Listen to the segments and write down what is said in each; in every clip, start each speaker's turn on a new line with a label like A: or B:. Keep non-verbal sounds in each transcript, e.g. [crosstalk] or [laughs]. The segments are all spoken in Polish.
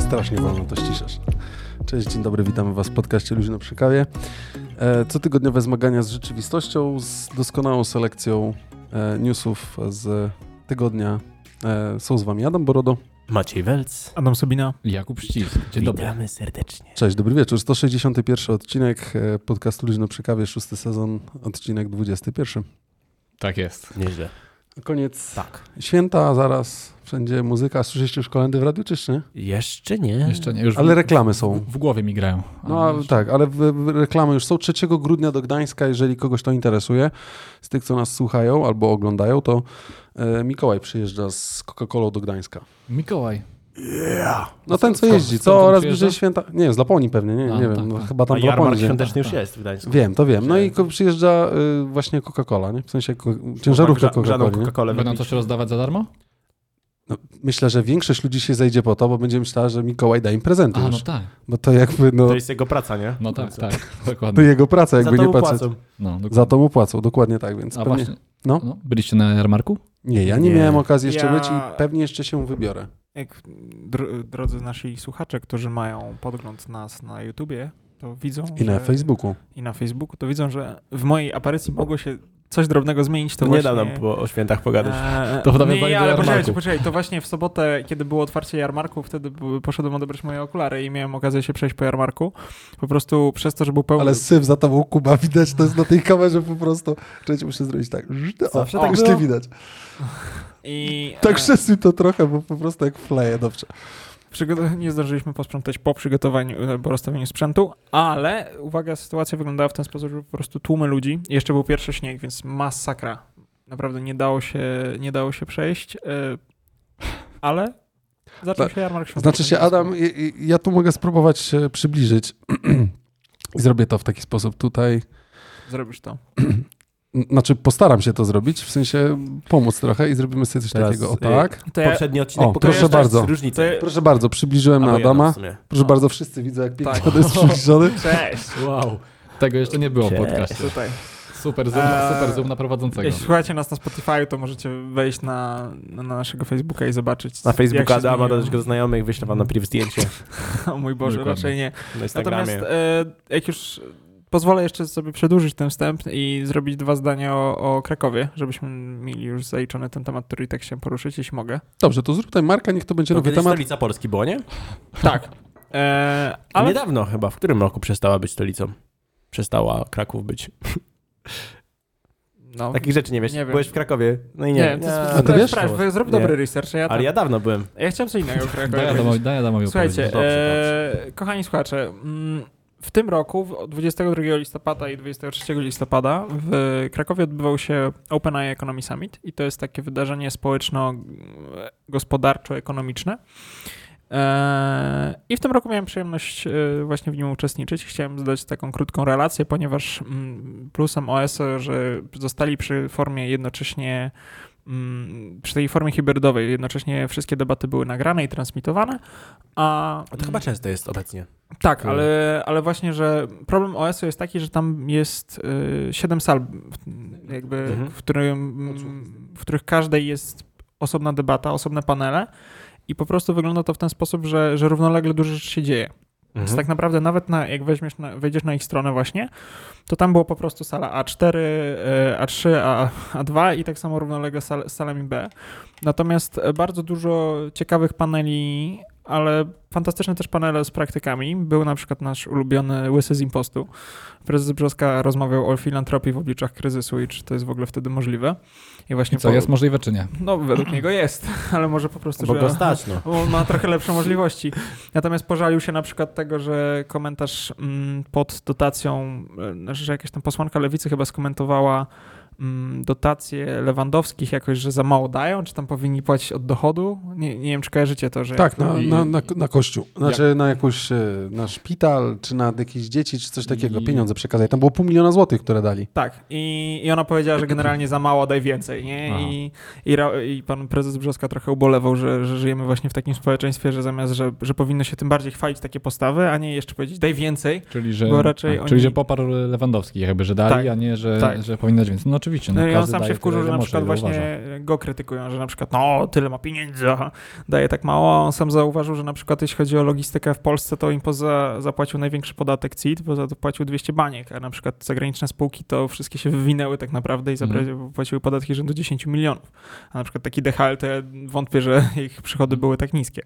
A: strasznie wolno to ściszasz. Cześć, dzień dobry, witamy Was w podcaście Luźno przy kawie. E, Cotygodniowe zmagania z rzeczywistością, z doskonałą selekcją e, newsów z tygodnia. E, Są z Wami Adam Borodo.
B: Maciej Welc.
C: Adam Sobina.
D: Jakub Ścisk, dzień dobry.
B: Witamy serdecznie.
A: Cześć, dobry wieczór. 161 odcinek e, podcastu Luźno przy kawie, szósty sezon, odcinek 21.
D: Tak jest.
B: Nieźle.
A: Koniec
B: Tak.
A: święta, zaraz wszędzie muzyka. Słyszeliście już kolendy w radiu, czy jeszcze nie?
B: Jeszcze nie.
C: Ehm,
D: Jeszcze nie, już
A: Ale
D: w,
A: reklamy są.
D: w głowie mi grają.
A: No ale tak, ale w, w reklamy już są 3 grudnia do Gdańska, jeżeli kogoś to interesuje, z tych co nas słuchają albo oglądają, to e, Mikołaj przyjeżdża z Coca-Colą do Gdańska.
D: Mikołaj.
A: No ten co
D: skąd-
A: jeździ,
D: skąd on
A: co raz
D: przyjeżdża?
A: bliżej święta, nie z Laponii pewnie, nie,
D: A,
A: nie
D: no
A: wiem,
D: tak,
A: no,
D: tak.
A: chyba tam
B: A
A: w
B: jarmark
A: Laponii.
B: świąteczny już
A: Tak.
B: jest w Gdańsku.
A: Wiem, to wiem. No i ko- przyjeżdża y, właśnie Coca-Cola, nie? W sensie ko- ciężarówka
B: Grza- grzaną
A: Coca-Cola, nie?
B: Coca-Colę
C: No
D: Będą
B: wypić.
D: coś rozdawać za darmo?
A: No, myślę, że większość ludzi się zejdzie po to, bo będzie myślała, że Mikołaj da im prezenty
D: A, no
A: już.
D: tak.
A: Bo to jakby, no,
B: To jest jego praca, nie?
D: No tak,
B: Co?
D: tak.
A: to
D: Dokładnie.
A: jego praca,
B: Za
A: jakby
B: to
A: nie
B: mu
A: patrzeć.
B: płacą.
D: No, dokładnie.
A: Za to mu płacą, dokładnie tak, więc
D: A
A: pewnie...
D: właśnie.
A: No.
D: No. Byliście na jarmarku?
A: Nie, ja nie,
B: Nie.
A: miałem okazji jeszcze
C: Ja-
A: być i pewnie jeszcze się wybiorę.
C: Jak dr- drodzy nasi słuchacze, którzy mają podgląd nas na YouTubie, to widzą.
A: I na
C: że,
A: Facebooku.
C: I na Facebooku, to widzą, że w mojej aparycji mogło się coś drobnego zmienić. To
B: To nie
C: właśnie...
B: da nam po, o świętach pogadać.
C: Eee,
D: To dawaj bani
C: nie,
D: do
C: ale poczekajcie,
D: jarmarku.
C: poczekajcie, to właśnie w sobotę, kiedy było otwarcie jarmarku, wtedy b- poszedłem odebrać moje okulary i miałem okazję się przejść po jarmarku. Po prostu przez to, że był pełny...
A: Ale syf za tobą Kuba widać, to jest na tej kamerze po prostu. Cześć, muszę zrobić tak. O,
B: Zawsze
A: o,
B: tak
A: już
B: było?
A: nie widać.
C: I,
A: Tak
C: eee,
A: przesuń to trochę, bo po prostu jak fleje, dobrze.
C: Przygotow- nie zdążyliśmy posprzątać po przygotowaniu, e, po rozstawieniu sprzętu, ale uwaga, sytuacja wyglądała w ten sposób, że po prostu tłumy ludzi, jeszcze był pierwszy śnieg, więc masakra. Naprawdę nie dało się, nie dało się przejść, e, ale zaczął
A: Tak.
C: się jarmark świąteczny.
A: Znaczy się, Adam, i- i- ja tu mogę spróbować się przybliżyć [clears throat] i zrobię to w taki sposób tutaj.
C: Zrobisz to.
A: Znaczy postaram się to zrobić, w sensie pomóc trochę i zrobimy sobie coś
B: Teraz,
A: takiego. O
B: y,
A: tak.
C: To ja,
B: Poprzedni odcinek
A: O,
B: pokazał
C: proszę
B: też
A: bardzo.
B: różnicę.
C: to ja,
A: Proszę bardzo, przybliżyłem na
B: Albo jedną
A: Adama.
B: w sumie.
A: Proszę bardzo, wszyscy widzą, jak pięknie
C: Tak.
A: on
B: [laughs]
A: jest przybliżony.
C: Cześć!
D: Wow. Tego jeszcze nie było w
B: Cześć.
D: podcaście.
C: Tutaj.
D: Super zoom,
C: Eee,
D: super zoom na prowadzącego.
C: Jeśli słuchacie nas na Spotify, to możecie wejść na, na naszego Facebooka i zobaczyć.
B: Na
C: jak
B: Facebooka
C: się
B: Adama,
C: zmieniło.
B: dodać go do znajomych, wyślę wam na priv zdjęcie
C: [laughs] O mój Boże,
D: Dokładnie.
C: raczej nie.
B: na
C: Natomiast
B: Instagramie.
C: e, jak już e, pozwolę jeszcze sobie przedłużyć ten wstęp i zrobić dwa zdania o, o Krakowie, żebyśmy mieli już zaliczony ten temat, który i tak chciałem poruszyć, jeśli mogę.
A: Dobrze, to zrób tutaj Marka, niech to będzie
B: To
A: nowy
B: kiedyś
A: temat.
B: stolica Polski było, nie?
C: Tak. E, ale
B: Niedawno chyba, w którym roku przestała być stolicą? Przestała Kraków być.
C: no,
B: Takich rzeczy nie wiesz.
C: Nie wiem.
B: Byłeś w Krakowie. No i nie.
C: nie, to jest,
A: A ty
C: to
A: wiesz?
C: jest prawda, zrób
B: Nie.
C: dobry research. a Ja,
A: Tak.
B: Ale
C: tam,
B: ja dawno byłem.
C: ja chciałem co innego o Krakowie.
D: Daj
C: powiedzieć.
D: Adamowi, daj Adamowi
C: Słuchajcie,
D: opowiedzieć.
B: Dobrze,
C: e, kochani słuchacze, mm, w tym roku, w- od 22 listopada i 23 listopada w Krakowie odbywał się OpenAI Economy Summit i to jest takie wydarzenie społeczno-gospodarczo-ekonomiczne. E, I w tym roku miałem przyjemność e, właśnie w nim uczestniczyć. Chciałem zdać taką krótką relację, ponieważ mm, plusem OS, że zostali przy formie jednocześnie mm, przy tej formie hybrydowej, jednocześnie wszystkie debaty były nagrane i transmitowane, a
B: To chyba często jest obecnie.
C: tak,
B: Które-
C: ale, ale właśnie, że problem OS-u jest taki, że tam jest y, 7 sal, w- jakby,
B: Mhm.
C: w, którym, mm, w których każdej jest osobna debata, osobne panele i po prostu wygląda to w ten sposób, że, że równolegle dużo rzeczy się dzieje.
A: Mhm.
D: Mhm.
C: Więc tak naprawdę nawet na, jak weźmiesz na, wejdziesz na ich stronę właśnie, to tam było po prostu sala A4, e, A3, A, A2 i tak samo równolegle sal, z salami B. Natomiast e, bardzo dużo ciekawych paneli, ale fantastyczne też panele z praktykami. Był na przykład nasz ulubiony Łysy z Impostu. Prezes Brzoska rozmawiał o filantropii w oblicach kryzysu i czy to jest w ogóle wtedy możliwe. I właśnie
D: I co,
C: po-
D: jest możliwe czy nie?
C: No według niego jest, [laughs] ale może po prostu...
B: Bo
C: że-
B: go stać, no.
C: bo on ma trochę lepsze możliwości. Natomiast pożalił się na przykład tego, że komentarz mm, pod dotacją, e, znaczy, że jakaś tam posłanka lewicy chyba skomentowała mm, dotacje Lewandowskich jakoś, że za mało dają, czy tam powinni płacić od dochodu. Nie, nie wiem, czy kojarzycie to, że...
A: Tak, na,
D: no I-
A: na, na, na kościół. Znaczy na jakąś, e, na szpital, czy na jakieś dzieci, czy coś takiego.
D: I-
A: Pieniądze przekazali. Tam było pół miliona złotych, które dali.
C: Tak, i, i ona powiedziała, że generalnie za mało, daj więcej,
D: Aha.
C: nie? I, i, ra- I pan prezes Brzoska trochę ubolewał, że, że żyjemy właśnie w takim społeczeństwie, że zamiast, że, że powinno się tym bardziej chwalić takie postawy, a nie jeszcze powiedzieć, daj więcej,
D: Czyli, że,
C: Bo raczej
D: tak, czyli,
C: oni-
D: że poparł Lewandowski, jakby, że dali,
C: Tak.
D: a nie, że,
C: Tak.
D: że powinien dać więcej. No oczywiście.
C: No i on
D: każdy
C: sam
D: daje
C: się wkurzył,
D: tyle,
C: że
D: ile
C: na
D: może,
C: przykład
D: ile
C: właśnie
D: uważa.
C: go krytykują, że na przykład no, tyle ma pieniędzy, aha, daje tak mało, a on sam zauważył, że na przykład jeśli chodzi o logistykę w Polsce, to im poza zapłacił największy podatek CIT, bo za to płacił 200 baniek, a na przykład zagraniczne spółki to wszystkie się wywinęły tak naprawdę i
D: Mhm.
C: zapra- płaciły podatki rzędu 10 milionów. A na przykład taki DHL, to ja wątpię, że [laughs] ich przychody były tak niskie.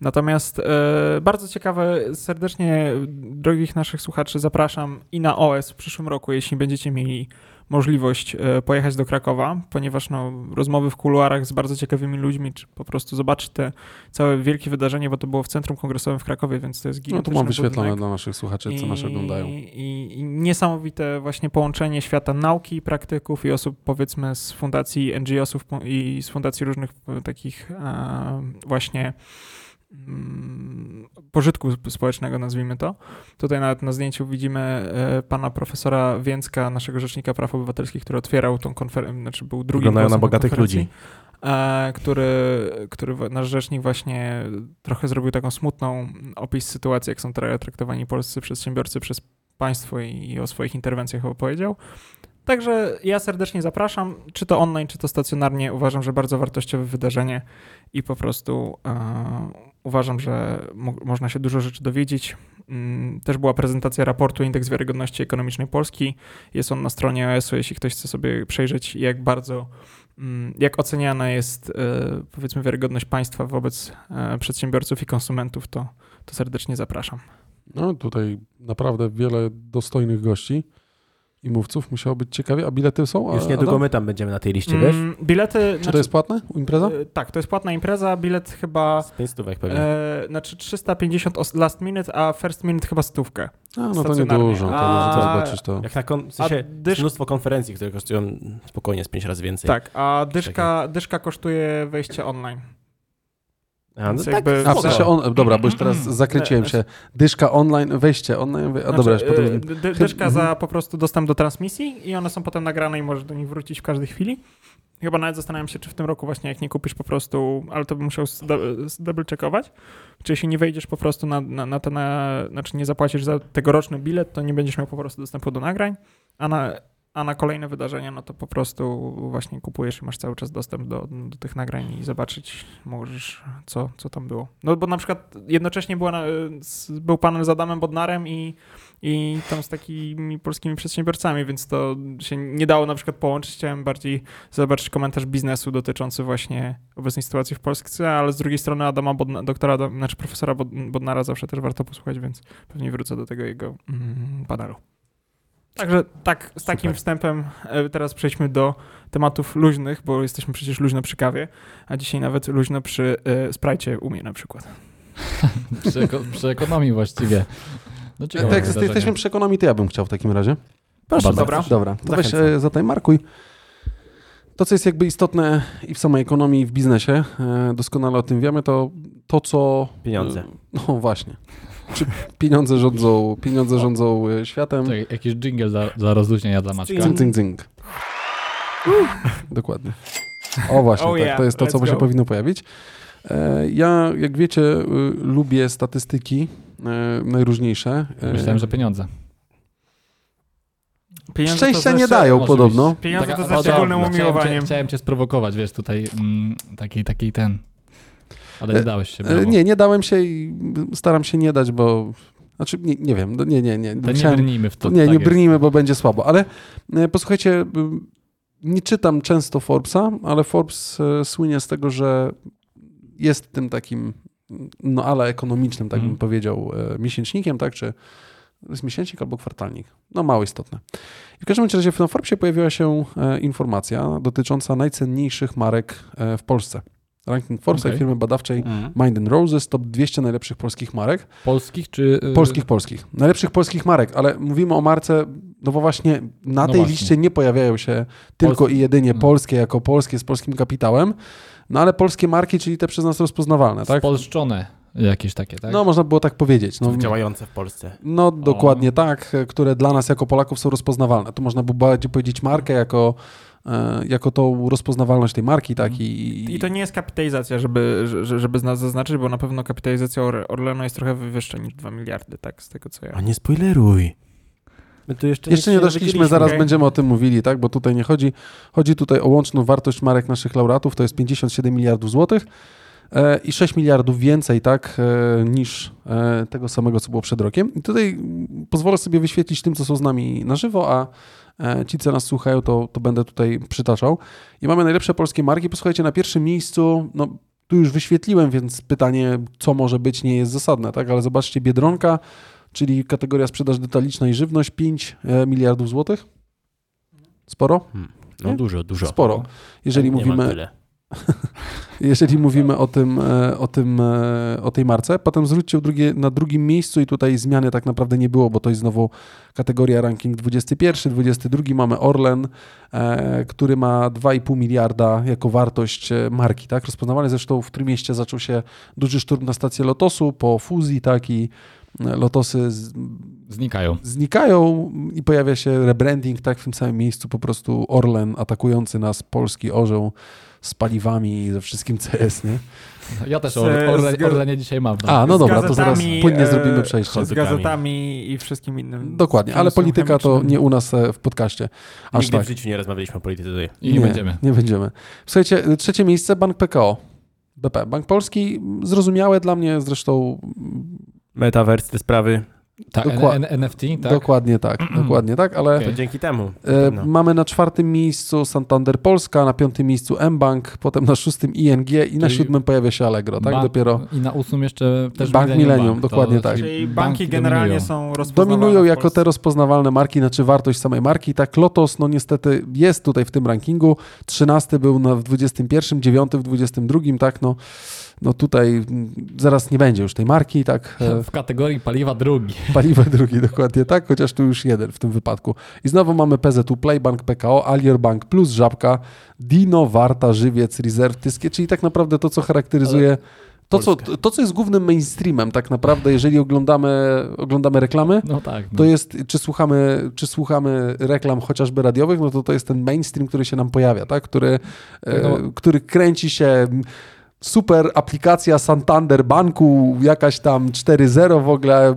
C: Natomiast e, bardzo ciekawe, serdecznie drogich naszych słuchaczy zapraszam i na OS w przyszłym roku, jeśli będziecie mieli możliwość e, pojechać do Krakowa, ponieważ no, rozmowy w kuluarach z bardzo ciekawymi ludźmi, czy po prostu zobaczyć te całe wielkie wydarzenie, bo to było w Centrum Kongresowym w Krakowie, więc to jest
A: No
C: gigantyczny
A: tu mam wyświetlone
C: budynek.
A: dla naszych słuchaczy, znaczy, co nasze oglądają.
C: I, I niesamowite właśnie połączenie świata nauki, praktyków i osób powiedzmy z fundacji NGO-sów po- i z fundacji różnych e, takich e, właśnie mm, pożytku sp- społecznego, nazwijmy to. Tutaj nawet na zdjęciu widzimy e, pana profesora Więcka, naszego rzecznika praw obywatelskich, który otwierał tą konferencję, znaczy był drugim
B: Wyglądają na
C: głosem
B: bogatych
C: konferencji,
B: ludzi.
C: e, Który, który wa- nasz rzecznik właśnie trochę zrobił taką smutną opis sytuacji, jak są tra- traktowani polscy przedsiębiorcy przez państwo i, i o swoich interwencjach opowiedział. Także ja serdecznie zapraszam, czy to online, czy to stacjonarnie. Uważam, że bardzo wartościowe wydarzenie i po prostu e, uważam, że mo- można się dużo rzeczy dowiedzieć. Mm, też była prezentacja raportu Indeks Wiarygodności Ekonomicznej Polski. Jest on na stronie OS-u, jeśli ktoś chce sobie przejrzeć, jak bardzo, mm, jak oceniana jest e, powiedzmy wiarygodność państwa wobec e, przedsiębiorców i konsumentów, to, to serdecznie zapraszam.
A: No tutaj naprawdę wiele dostojnych gości i mówców. Musiało być ciekawie. A bilety są? A,
B: Już niedługo
A: Adam?
B: my tam będziemy na tej liście, wiesz?
A: Mhm.
C: Mm, bilety.
A: Czy to jest płatne? Impreza?
B: Y,
C: e, Tak, to jest płatna impreza, bilet chyba.
B: Z pięć stówek pewnie.
C: E, znaczy 350 os- last minute, a first minute chyba stówkę.
A: A, no to
C: stacjonarnie.
A: niedużo. To
B: A-
A: możecie zobaczyć to.
B: Jak na kon- w
C: A
B: sensie
C: dysz-
B: mnóstwo konferencji, które kosztują spokojnie z pięć razy więcej.
C: Tak, a dyszka, dyszka kosztuje wejście online.
B: A, no
C: Więc
B: tak,
C: jakby-
A: A,
B: spoko.
A: w sensie on, dobra, bo już teraz
B: Mm-hmm.
A: zakryciłem się. Dyszka online, wejście online. A dobra, już
C: Znaczy,
A: potem...
C: y, dy- Dyszka
A: mhm.
C: za po prostu dostęp do transmisji i one są potem nagrane i możesz do nich wrócić w każdej chwili. Chyba nawet zastanawiam się, czy w tym roku właśnie jak nie kupisz po prostu, ale to bym musiał double checkować, czy jeśli nie wejdziesz po prostu na, na, na ten, na, znaczy nie zapłacisz za tegoroczny bilet, to nie będziesz miał po prostu dostępu do nagrań, a na, a na kolejne wydarzenia no to po prostu właśnie kupujesz i masz cały czas dostęp do, do tych nagrań i zobaczyć możesz co, co tam było. No bo na przykład jednocześnie była, na- e, z- był panel z Adamem Bodnarem i i tam z takimi polskimi przedsiębiorcami, więc to się nie dało na przykład połączyć. Chciałem bardziej zobaczyć komentarz biznesu dotyczący właśnie obecnej sytuacji w Polsce, ale z drugiej strony Adama Bodna, doktora, Adam, znaczy profesora Bod- Bodnara zawsze też warto posłuchać, więc pewnie wrócę do tego jego mm, panelu. Także tak, z takim
B: Super.
C: wstępem e, teraz przejdźmy do tematów luźnych, bo jesteśmy przecież luźno przy kawie, a dzisiaj nawet luźno przy e, sprajcie u mnie na przykład.
D: Przy, eko- przy ekonomii właściwie. No ciekawe
A: Tak, jak
D: wydarzenie.
A: jesteśmy przekonani, to ja bym chciał w takim razie.
B: Proszę
D: Dobra.
B: bardzo.
A: Dobra, to weź
B: Zachęcam.
A: e, zataj markuj. To, co jest jakby istotne i w samej ekonomii, i w biznesie, e, doskonale o tym wiemy, to to, co...
B: Pieniądze.
A: No właśnie. Czy pieniądze rządzą, pieniądze rządzą e, światem.
D: Czekaj, jakiś dżingiel dla, dla rozluźnienia dla Maćka.
A: Cyng, cyng, cyng. Dokładnie. O właśnie,
C: Oh
A: tak,
C: yeah,
A: to jest to,
C: let's
A: co się
C: go.
A: powinno pojawić. E, Ja, jak wiecie, y, lubię statystyki e, najróżniejsze. E,
D: Myślałem, że pieniądze.
C: Pieniądze to
A: Szczęścia nie
C: zawsze-
A: dają
D: znaczy- Oczywiście.
A: podobno.
C: Pieniądze
D: Taka-
C: to znaczy ze
D: dobra,
C: szczególnym
D: chciałem cię-
C: umiłowaniem.
D: Chciałem cię sprowokować, wiesz, tutaj mm, taki, taki ten. Ale
A: E,
D: nie dałeś się.
A: E,
D: brawo.
A: Nie, nie dałem się i staram się nie dać, bo... Znaczy, nie, nie wiem, no nie, nie, nie.
D: To nie
A: Musiałem-
D: brnijmy w to.
A: nie,
D: tak
A: nie
D: jest.
A: brnijmy, bo będzie słabo. Ale e, posłuchajcie, m, nie czytam często Forbesa, ale Forbes e, słynie z tego, że jest tym takim, no ale ekonomicznym, tak
D: Mhm.
A: bym powiedział, e, miesięcznikiem, tak? Czy to jest miesięcznik albo kwartalnik? No mało istotne. I w każdym bądź razie na Forbesie pojawiła się e, informacja dotycząca najcenniejszych marek e, w Polsce. Ranking Forbesa i
D: Okej.
A: firmy badawczej Mind and Roses, top 200 najlepszych polskich marek.
D: Polskich czy. y,
A: Polskich, polskich. Najlepszych polskich marek, ale mówimy o marce, no bo właśnie na
D: No
A: tej
D: właśnie.
A: liście nie pojawiają się tylko
D: Polskie.
A: i jedynie
D: No.
A: polskie jako polskie z polskim kapitałem, no ale polskie marki, czyli te przez nas rozpoznawalne, tak?
D: Spolszczone jakieś takie, tak?
A: No można było tak powiedzieć. No,
B: Działające w Polsce.
A: no dokładnie tak, które dla nas jako Polaków są rozpoznawalne. Tu można by bardziej powiedzieć markę jako, e, jako tą rozpoznawalność tej marki, tak? I,
C: I to nie jest kapitalizacja, żeby, że- żeby z nas zaznaczyć, bo na pewno kapitalizacja Orle- Orlenu jest trochę wyższa niż 2 miliardy, tak, z tego co ja.
B: A nie spoileruj. My tu jeszcze,
A: Jeszcze nie doszliśmy, zaraz
C: okej.
A: będziemy o tym mówili, tak? Bo tutaj nie chodzi. Chodzi tutaj o łączną wartość marek naszych laureatów, to jest 57 miliardów złotych e, i 6 miliardów więcej, tak, e, niż e, tego samego, co było przed rokiem. I tutaj mm, pozwolę sobie wyświetlić tym, co są z nami na żywo, a e, ci, co nas słuchają, to, to będę tutaj przytaczał. I mamy najlepsze polskie marki. Posłuchajcie, na pierwszym miejscu, no tu już wyświetliłem, więc pytanie, co może być, nie jest zasadne, tak? Ale zobaczcie, Biedronka, czyli kategoria sprzedaż detaliczna i żywność, 5 e, miliardów złotych. Sporo?
B: No
A: nie?
B: dużo, dużo.
A: Sporo. Jeżeli
B: nie Mam
A: mówimy,
B: tyle.
A: jeżeli mówimy o, tym, e, o, tym, e, o tej marce. Potem zwróćcie drugie, na drugim miejscu i tutaj zmiany tak naprawdę nie było, bo to jest znowu kategoria ranking 21, 22 mamy Orlen, e, który ma 2,5 miliarda jako wartość e, marki. Tak? Rozpoznawany zresztą w Trójmieście zaczął się duży szturm na stację Lotosu po fuzji tak i e, Lotosy z,
D: Znikają.
A: znikają i pojawia się rebranding, tak w tym samym miejscu po prostu Orlen atakujący nas, polski orzeł z paliwami i ze wszystkim CS, nie?
D: Ja też
C: Z-
D: Orle,
C: z-
D: Orle, Orlenie dzisiaj mam.
A: A, no
C: Z
A: dobra, to zaraz
C: gazetami,
A: płynnie
C: e,
A: zrobimy przejście.
C: Z gazetami i wszystkim innym.
A: Dokładnie, ale
C: przemysłem
A: polityka to
C: chemicznym.
A: nie u nas e, w podcaście. Aż
B: Nigdy
A: tak.
B: w życiu nie rozmawialiśmy o polityce tutaj.
D: I nie będziemy.
A: Nie będziemy. Słuchajcie, trzecie miejsce Bank PKO. BP. Bank Polski, zrozumiałe dla mnie zresztą,
B: Metavers, te sprawy,
D: Tak,
A: Dokła-
D: N- N- NFT, tak?
A: dokładnie tak, dokładnie tak, ale
B: to dzięki temu.
A: E,
B: No.
A: Mamy na czwartym miejscu Santander Polska, na piątym miejscu mBank, potem na szóstym ING i na
D: Czyli
A: siódmym pojawia się Allegro, tak?
D: Ba-
A: Dopiero
D: I na ósmym jeszcze też
A: Bank Millennium,
D: Bank, to
A: dokładnie
D: raczej
A: tak.
C: Czyli banki,
D: banki
C: generalnie
D: dominują.
C: są rozpoznawalne
A: dominują
C: w
A: jako
C: Polsce.
A: te rozpoznawalne marki, znaczy wartość samej marki. Tak, Lotos, no niestety jest tutaj w tym rankingu. 13 był na, w 21, 9 w 22, tak? No, no tutaj mm, zaraz nie będzie już tej marki, tak? E,
D: W kategorii paliwa drugi.
A: Paliwo drugi, dokładnie tak, chociaż tu już jeden w tym wypadku. I znowu mamy PZU Play, Bank PKO, Alior Bank Plus, Żabka, Dino, Warta, Żywiec, Reserve, Tyskie, czyli tak naprawdę to, co charakteryzuje, to co,
B: Polskę.
A: to, co jest głównym mainstreamem tak naprawdę, jeżeli oglądamy, oglądamy reklamy,
D: [laughs] No tak. No.
A: to jest, czy słuchamy, czy słuchamy reklam chociażby radiowych, no to to jest ten mainstream, który się nam pojawia, tak? który, e,
D: No.
A: który kręci się m, super aplikacja Santander Banku, jakaś tam 4.0 w ogóle, m,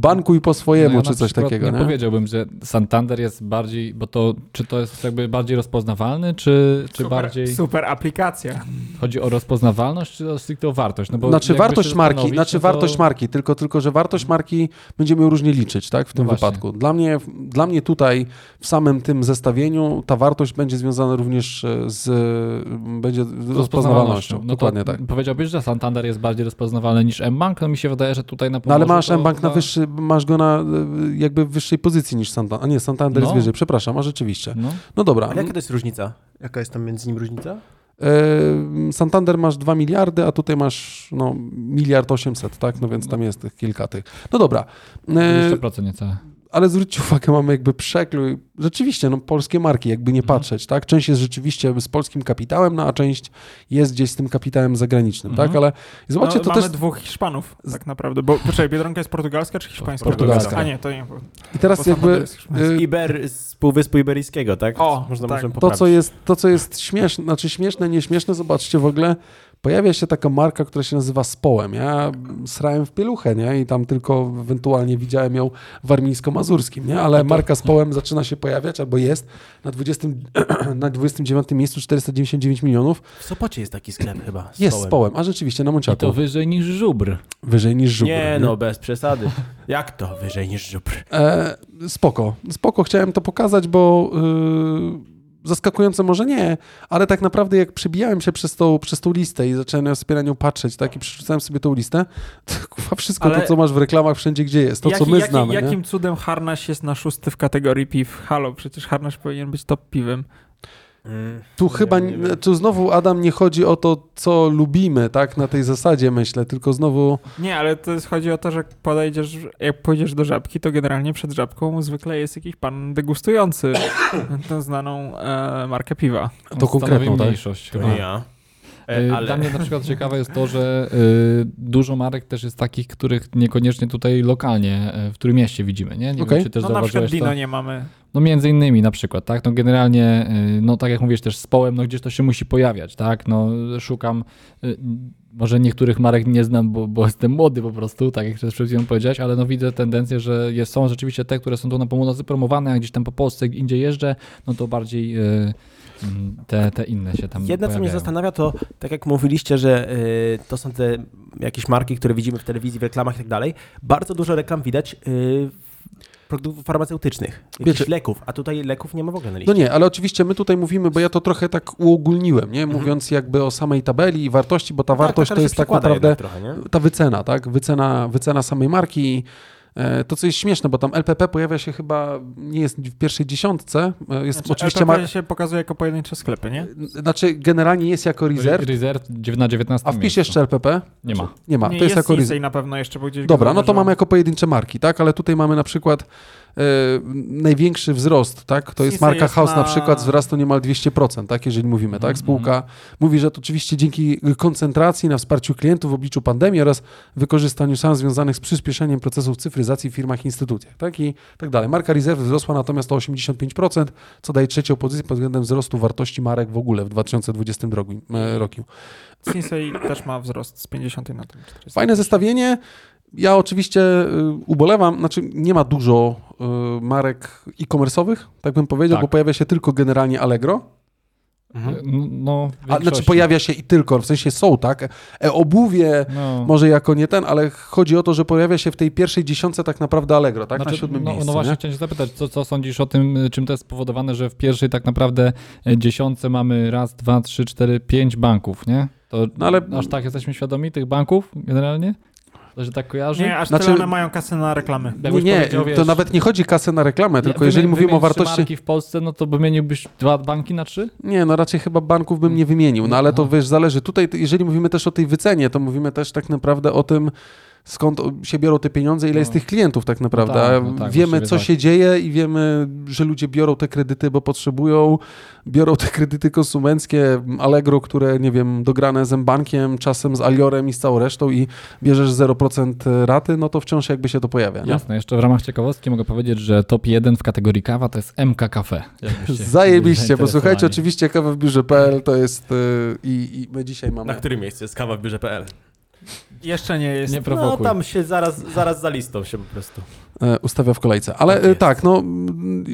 A: bankuj po swojemu,
D: No ja
A: czy
D: na
A: coś
D: przykład
A: takiego.
D: Nie,
A: Nie?
D: powiedziałbym, że Santander jest bardziej, bo to, czy to jest jakby bardziej rozpoznawalny, czy, czy
C: super,
D: bardziej
C: Super aplikacja.
D: chodzi o rozpoznawalność, czy o stricte o wartość? No bo
A: Znaczy
D: jakby
A: wartość
D: się
A: marki,
D: zastanowić,
A: znaczy
D: no to- Mhm.
A: wartość marki, tylko, tylko że wartość marki będziemy ją różnie liczyć, tak? W tym
D: No właśnie.
A: wypadku. Dla mnie, dla mnie tutaj w samym tym zestawieniu ta wartość będzie związana również e, z e, będzie z rozpoznawalnością.
D: No to
A: Dokładnie tak.
D: Powiedziałbyś, że Santander jest bardziej rozpoznawalny niż M-Bank, no mi się wydaje, że tutaj na
A: No ale
D: Pomorzu
A: masz
D: to-
A: M-Bank na
D: to-
A: wyższy, masz go na y, jakby wyższej pozycji niż Santander. A nie, Santander jest
D: No.
A: wyżej, przepraszam, a rzeczywiście.
D: No.
A: No dobra.
B: Ale jaka to jest różnica? Jaka jest tam między nim różnica?
A: Y, Santander masz 2 miliardy, a tutaj masz no, miliard 800, tak? No więc tam jest tych kilka tych. No dobra. E,
D: 20% niecałe.
A: ale zwróćcie uwagę, mamy jakby przekrój. Rzeczywiście, no polskie marki, jakby nie
C: Mhm.
A: patrzeć, tak? Część jest rzeczywiście z polskim kapitałem, no a część jest gdzieś z tym kapitałem zagranicznym,
D: Mhm.
A: tak? Ale i zobaczcie,
C: no,
A: to
C: mamy
A: też...
C: dwóch Hiszpanów tak naprawdę, bo poczekaj, Biedronka jest portugalska czy hiszpańska?
A: Portugalska.
C: A nie, to nie. bo-
A: I
C: bo
A: teraz
C: Santander
A: jakby...
C: jest hiszpański.
A: y,
B: Z Iber, z Półwyspu Iberyjskiego, tak?
C: O,
B: Można
C: tak.
B: możemy
A: to,
B: poprawić.
A: co jest, to, co jest śmieszne, znaczy śmieszne, nieśmieszne, zobaczcie w ogóle, pojawia się taka marka, która się nazywa Społem. Ja srałem w pieluchę, nie? I tam tylko ewentualnie widziałem ją w armińsko-mazurskim, nie?
C: No
A: Ale marka Społem zaczyna się pojawiać, albo jest na, 20, [clears throat] na 29 miejscu 499 milionów.
B: W Sopocie jest taki sklep chyba. z
A: Jest
B: stołem.
A: Społem, a rzeczywiście na
D: I to
A: Monciaku.
D: wyżej niż żubr.
A: Wyżej niż Żubr.
B: Nie no, bez przesady. Jak to? Wyżej niż żubr.
A: E, spoko, spoko, chciałem to pokazać, bo y, zaskakujące może nie, ale tak naprawdę jak przebijałem się przez tą, przez tą listę i zacząłem na sobie na nią patrzeć, tak, i przeczytałem sobie tą listę, [laughs] to kurwa, wszystko
B: Ale-
A: to, co masz w reklamach wszędzie, gdzie jest, y, to,
C: Jaki-
A: co my
C: jaki-
A: znamy, nie?
C: Jakim cudem Harnaś jest na szósty w kategorii piw? Halo, przecież Harnaś powinien być top piwem.
B: Mm,
A: Tu
B: Nie
A: chyba,
B: wiem, nie wiem.
A: tu znowu, Adam, nie chodzi o to, co lubimy, tak, na tej zasadzie, myślę, tylko znowu,
C: Nie, ale to jest, chodzi o to, że jak podejdziesz, jak pójdziesz do żabki, to generalnie przed żabką zwykle jest jakiś pan
A: [laughs]
C: degustujący tę znaną e, markę piwa.
A: to
D: Stanowi
A: konkretną, tak?
D: mniejszość.
B: To
D: chyba.
B: nie ja.
D: Y,
B: E, ale...
D: Dla mnie na przykład ciekawe jest to, że y, dużo marek też jest takich, których niekoniecznie tutaj lokalnie, y, w którym mieście widzimy, nie? Nie
A: Okej.
D: wiem, czy też
C: no na przykład
D: zauważyłeś
C: Dino
D: to.
C: nie mamy.
D: No między innymi na przykład, tak? No generalnie, y, no tak jak mówisz też z połem, no gdzieś to się musi pojawiać, tak? No szukam, y, może niektórych marek nie znam, bo, bo jestem młody po prostu, tak jak przed chwilą powiedziałeś, ale no widzę tendencję, że jest, są rzeczywiście te, które są tu na pomocy promowane, a gdzieś tam po Polsce, indziej jeżdżę, no to bardziej y, mm, te, te inne się tam
B: [laughs] Jedno, co mnie
D: pojawiają.
B: zastanawia, to tak jak mówiliście, że y, to są te jakieś marki, które widzimy w telewizji, w reklamach i tak dalej. Bardzo dużo reklam widać y, produktów farmaceutycznych,
A: Wiecie-
B: jakichś leków, a tutaj leków nie ma w ogóle na liście.
A: No nie, ale oczywiście my tutaj mówimy, bo ja to trochę tak uogólniłem, nie? Mówiąc jakby o samej tabeli i wartości, bo ta wartość
B: Mhm. tak,
A: to
B: ale
A: jest
B: się
A: tak
B: przekłada
A: naprawdę
B: jednak Trochę, nie?
A: ta wycena, tak? Wycena, wycena samej marki. E, To, co jest śmieszne, bo tam LPP pojawia się chyba, nie jest w pierwszej dziesiątce, e, jest
C: Znaczy,
A: oczywiście...
C: LPP
A: Mar-
C: się pokazuje jako pojedyncze sklepy, nie?
A: znaczy, generalnie jest jako reserve,
D: Reserve dziew- na 19
A: a wpisz
D: miejscu.
A: jeszcze LPP?
D: Nie ma.
A: Nie ma,
C: nie
A: to jest jako reserve.
C: Nisej na pewno jeszcze, bo gdzieś go
A: Dobra, no to
C: zauważyłem.
A: mamy jako pojedyncze marki, tak? Ale tutaj mamy na przykład e, największy wzrost, tak? To jest
C: Sisa
A: marka
C: jest
A: House na...
C: na-
A: przykład, wzrastu niemal 200%, tak? Jeżeli mówimy, tak? Spółka mówi, że to oczywiście dzięki koncentracji na wsparciu klientów w obliczu pandemii oraz wykorzystaniu szans związanych z przyspieszeniem procesów cyfryzacji w firmach i instytucjach, tak? I tak dalej. Marka Reserve wzrosła natomiast o 85%, co daje trzecią pozycję pod względem wzrostu wartości marek w ogóle w 2020 drogu- e, roku.
C: Nisej też ma wzrost z 50 na ten 40.
A: Fajne zestawienie. Ja oczywiście y, ubolewam, znaczy nie ma dużo y, marek e-commerce'owych, tak bym powiedział,
D: Tak.
A: bo pojawia się tylko generalnie Allegro.
D: No, no,
A: Mhm.
D: w
A: A, znaczy
D: większości.
A: pojawia się i tylko, w sensie są, tak? E, obuwie
D: No.
A: może jako nie ten, ale chodzi o to, że pojawia się w tej pierwszej dziesiątce tak naprawdę Allegro, tak? Na
D: Znaczy,
A: siódmym
D: no,
A: miejscu,
D: no właśnie
A: nie?
D: chciałem się zapytać, co, co sądzisz o tym, y, czym to jest spowodowane, że w pierwszej tak naprawdę y, dziesiątce mamy raz, dwa, trzy, cztery, pięć banków, nie? To
A: No ale-
D: aż tak jesteśmy świadomi tych banków generalnie? To się tak kojarzy?
C: Nie, aż
A: Znaczy-
C: tyle one mają kasy na reklamy.
A: Nie,
D: Jakbyś
A: nie,
D: powiedział,
A: to
D: wiesz,
A: nawet nie chodzi kasę na reklamę, tylko
D: wymień-
A: jeżeli mówimy o
D: wymień trzy
A: wartości...
D: marki w Polsce, no to wymieniłbyś dwa banki na trzy?
A: Nie, no raczej chyba banków bym nie wymienił, no ale to wiesz, zależy. Tutaj, t- jeżeli mówimy też o tej wycenie, to mówimy też tak naprawdę o tym, skąd o- się biorą te pieniądze, ile
D: No.
A: jest tych klientów tak naprawdę.
D: tak,
A: A
D: no tak,
A: wiemy,
D: właściwie
A: co
D: tak.
A: się dzieje i wiemy, że ludzie biorą te kredyty, bo potrzebują, biorą te kredyty konsumenckie, Allegro, które, nie wiem, dograne z M-Bankiem, czasem z Aliorem i z całą resztą i bierzesz 0% raty, no to wciąż jakby się to pojawia, nie?
D: Jasne, jeszcze w ramach ciekawostki mogę powiedzieć, że top jeden w kategorii kawa to jest MK Cafe. jakbyście byli
A: Zajebiście,
D: zainteresowani.
A: posłuchajcie, oczywiście kawę w biurze.pl to jest y, i, i my dzisiaj mamy...
E: Na którym miejscu jest kawa w biurze.pl?
C: Jeszcze nie jest.
D: Nie
E: No
D: prowokuj.
E: tam się zaraz, zaraz za listą się po prostu.
A: e, ustawia w kolejce. Ale
E: Tak
A: e,
E: jest.
A: tak, no. mm,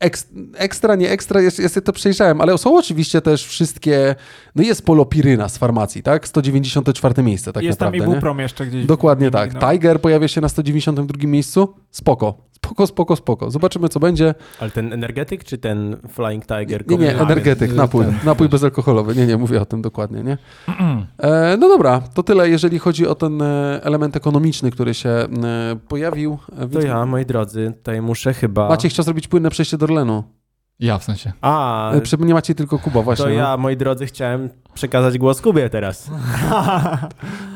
A: Eks, ekstra, nie ekstra, jeszcze, jeszcze to przejrzałem, ale są oczywiście też wszystkie. No jest polopiryna z farmacji, tak? 194 miejsce, tak
C: jest tam
A: naprawdę.
C: i
A: nie?
C: Buprom jeszcze gdzieś. no.
A: Dokładnie
C: Nie
A: tak.
C: minął.
A: Tiger pojawia się na 192 miejscu. Spoko. Spoko, spoko, spoko. Zobaczymy, co będzie.
E: Ale ten energetyk czy ten Flying Tiger?
A: Nie, nie,
E: Copenhagen?
A: energetyk,
D: y,
A: napój,
D: ten.
A: napój bezalkoholowy. Nie, nie, mówię o tym dokładnie, nie? E, no dobra, to tyle, jeżeli chodzi o ten e, element ekonomiczny, który się e, pojawił. E,
E: To
A: więc-
E: ja, moi drodzy, tutaj muszę chyba...
A: Maciek chciał zrobić płynne przejście do Orlenu.
D: Ja w sensie.
E: A,
A: E, Przy mnie macie tylko Kuba, właśnie.
E: to
A: no.
E: ja, moi drodzy, chciałem przekazać głos Kubie
A: [laughs]
E: teraz.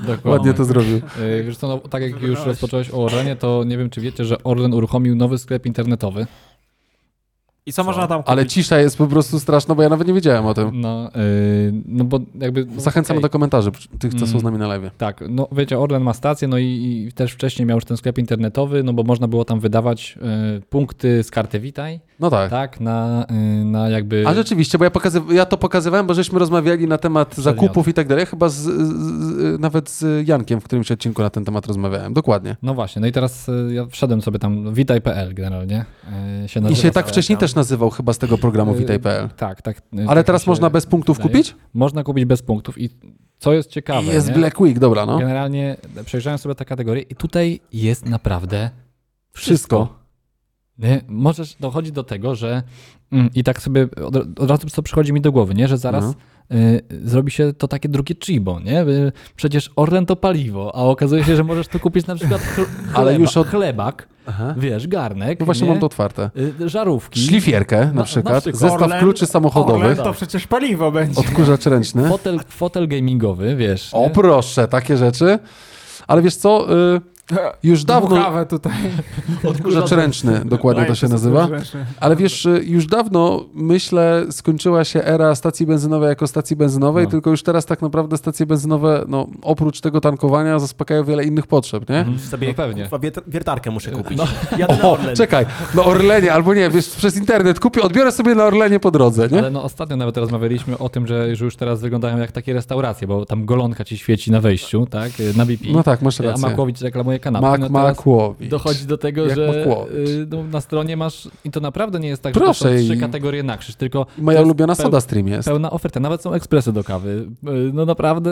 D: Dokładnie.
A: Ładnie to zrobił.
D: Yy, Wiesz co, no, tak jak już
C: Wybrałeś.
D: rozpocząłeś o Orlenie, to nie wiem, czy wiecie, że Orlen uruchomił nowy sklep internetowy.
C: I co, można tam kupić?
A: Ale cisza jest po prostu straszna, bo ja nawet nie wiedziałem o tym.
D: No, yy, no bo jakby... no,
A: Zachęcamy
D: okej.
A: do komentarzy przy- tych, co są
D: Mm.
A: z nami na live.
D: Tak, no wiecie, Orlen ma stację, no i, i też wcześniej miał już ten sklep internetowy, no bo można było tam wydawać yy, punkty z karty Witaj,
A: No tak.
D: tak, na, yy, na jakby...
A: A rzeczywiście, bo ja, pokazy- ja to pokazywałem, bo żeśmy rozmawiali na temat zakupów i tak dalej, chyba z, z, z, nawet z Jankiem w którymś odcinku na ten temat rozmawiałem. Dokładnie.
D: No właśnie, no i teraz yy, ja wszedłem sobie tam, witaj.pl generalnie yy, się
A: I
D: nazywa.
A: się tak wcześniej też nazywał chyba z tego programu
D: Yy,
A: Witaj.pl.
D: Tak, tak. yy,
A: Ale
D: tak mi
A: teraz
D: się
A: można bez punktów
D: wydaje.
A: kupić?
D: Można kupić bez punktów i co jest ciekawe...
A: Jest
D: nie?
A: Black Week, dobra, no.
D: Generalnie przejrzałem sobie te kategorie i tutaj jest naprawdę
A: Wszystko.
D: Nie? Możesz dochodzi do tego, że mm, i tak sobie od, od razu co przychodzi mi do głowy, nie? że zaraz
A: No.
D: y, zrobi się to takie drugie chibo, nie? Y, Przecież Orlen to paliwo, a okazuje się, że możesz to kupić na przykład chl- chleba,
A: [laughs] Ale już od-
D: chlebak,
A: Aha.
D: wiesz, garnek,
A: No właśnie
D: nie?
A: mam to otwarte.
D: Y, żarówki,
A: Szlifierkę na
D: na
A: przykład,
D: przykład.
A: zestaw
C: Orlen-
A: kluczy
C: Orlen
A: samochodowych,
C: to przecież paliwo będzie.
A: odkurzacz ręczny.
D: fotel, fotel gamingowy, wiesz.
A: O
D: nie?
A: proszę, takie rzeczy. Ale wiesz co, y,
D: [laughs]
A: Już dawno
C: Kawę tutaj.
A: odkurzacz ręczny, dokładnie to się nazywa. Ale wiesz, y, już dawno, myślę, skończyła się era stacji benzynowej jako stacji benzynowej,
D: No.
A: tylko już teraz tak naprawdę stacje benzynowe, no, oprócz tego tankowania, zaspokajają wiele innych potrzeb, nie?
E: Sobie
D: No pewnie.
E: kurwa, wiet- wiertarkę muszę [laughs] kupić.
D: No.
E: Jadę na
A: O,
E: Orlen.
A: czekaj, na Orlenie, albo nie, wiesz, przez internet kupię, odbiorę sobie na Orlenie po drodze, nie?
D: Ale no ostatnio nawet rozmawialiśmy o tym, że że już teraz wyglądają jak takie restauracje, bo tam golonka ci świeci na wejściu, tak? y, Na BP.
A: No tak, masz
D: a
A: rację.
D: Makłowicz reklamuje kanapę.
A: Mak,
D: no teraz
A: Makłowicz.
D: Dochodzi do tego,
A: Jak
D: że
A: Makłowicz.
D: y, no, na stronie masz, i to naprawdę nie jest tak,
A: Proszę
D: że to są trzy
A: i-
D: kategorie na krzyż, tylko
A: Moja
D: to jest
A: ulubiona
D: peł-
A: Soda Stream jest.
D: pełna oferta. Nawet są ekspresy do kawy. Y, No naprawdę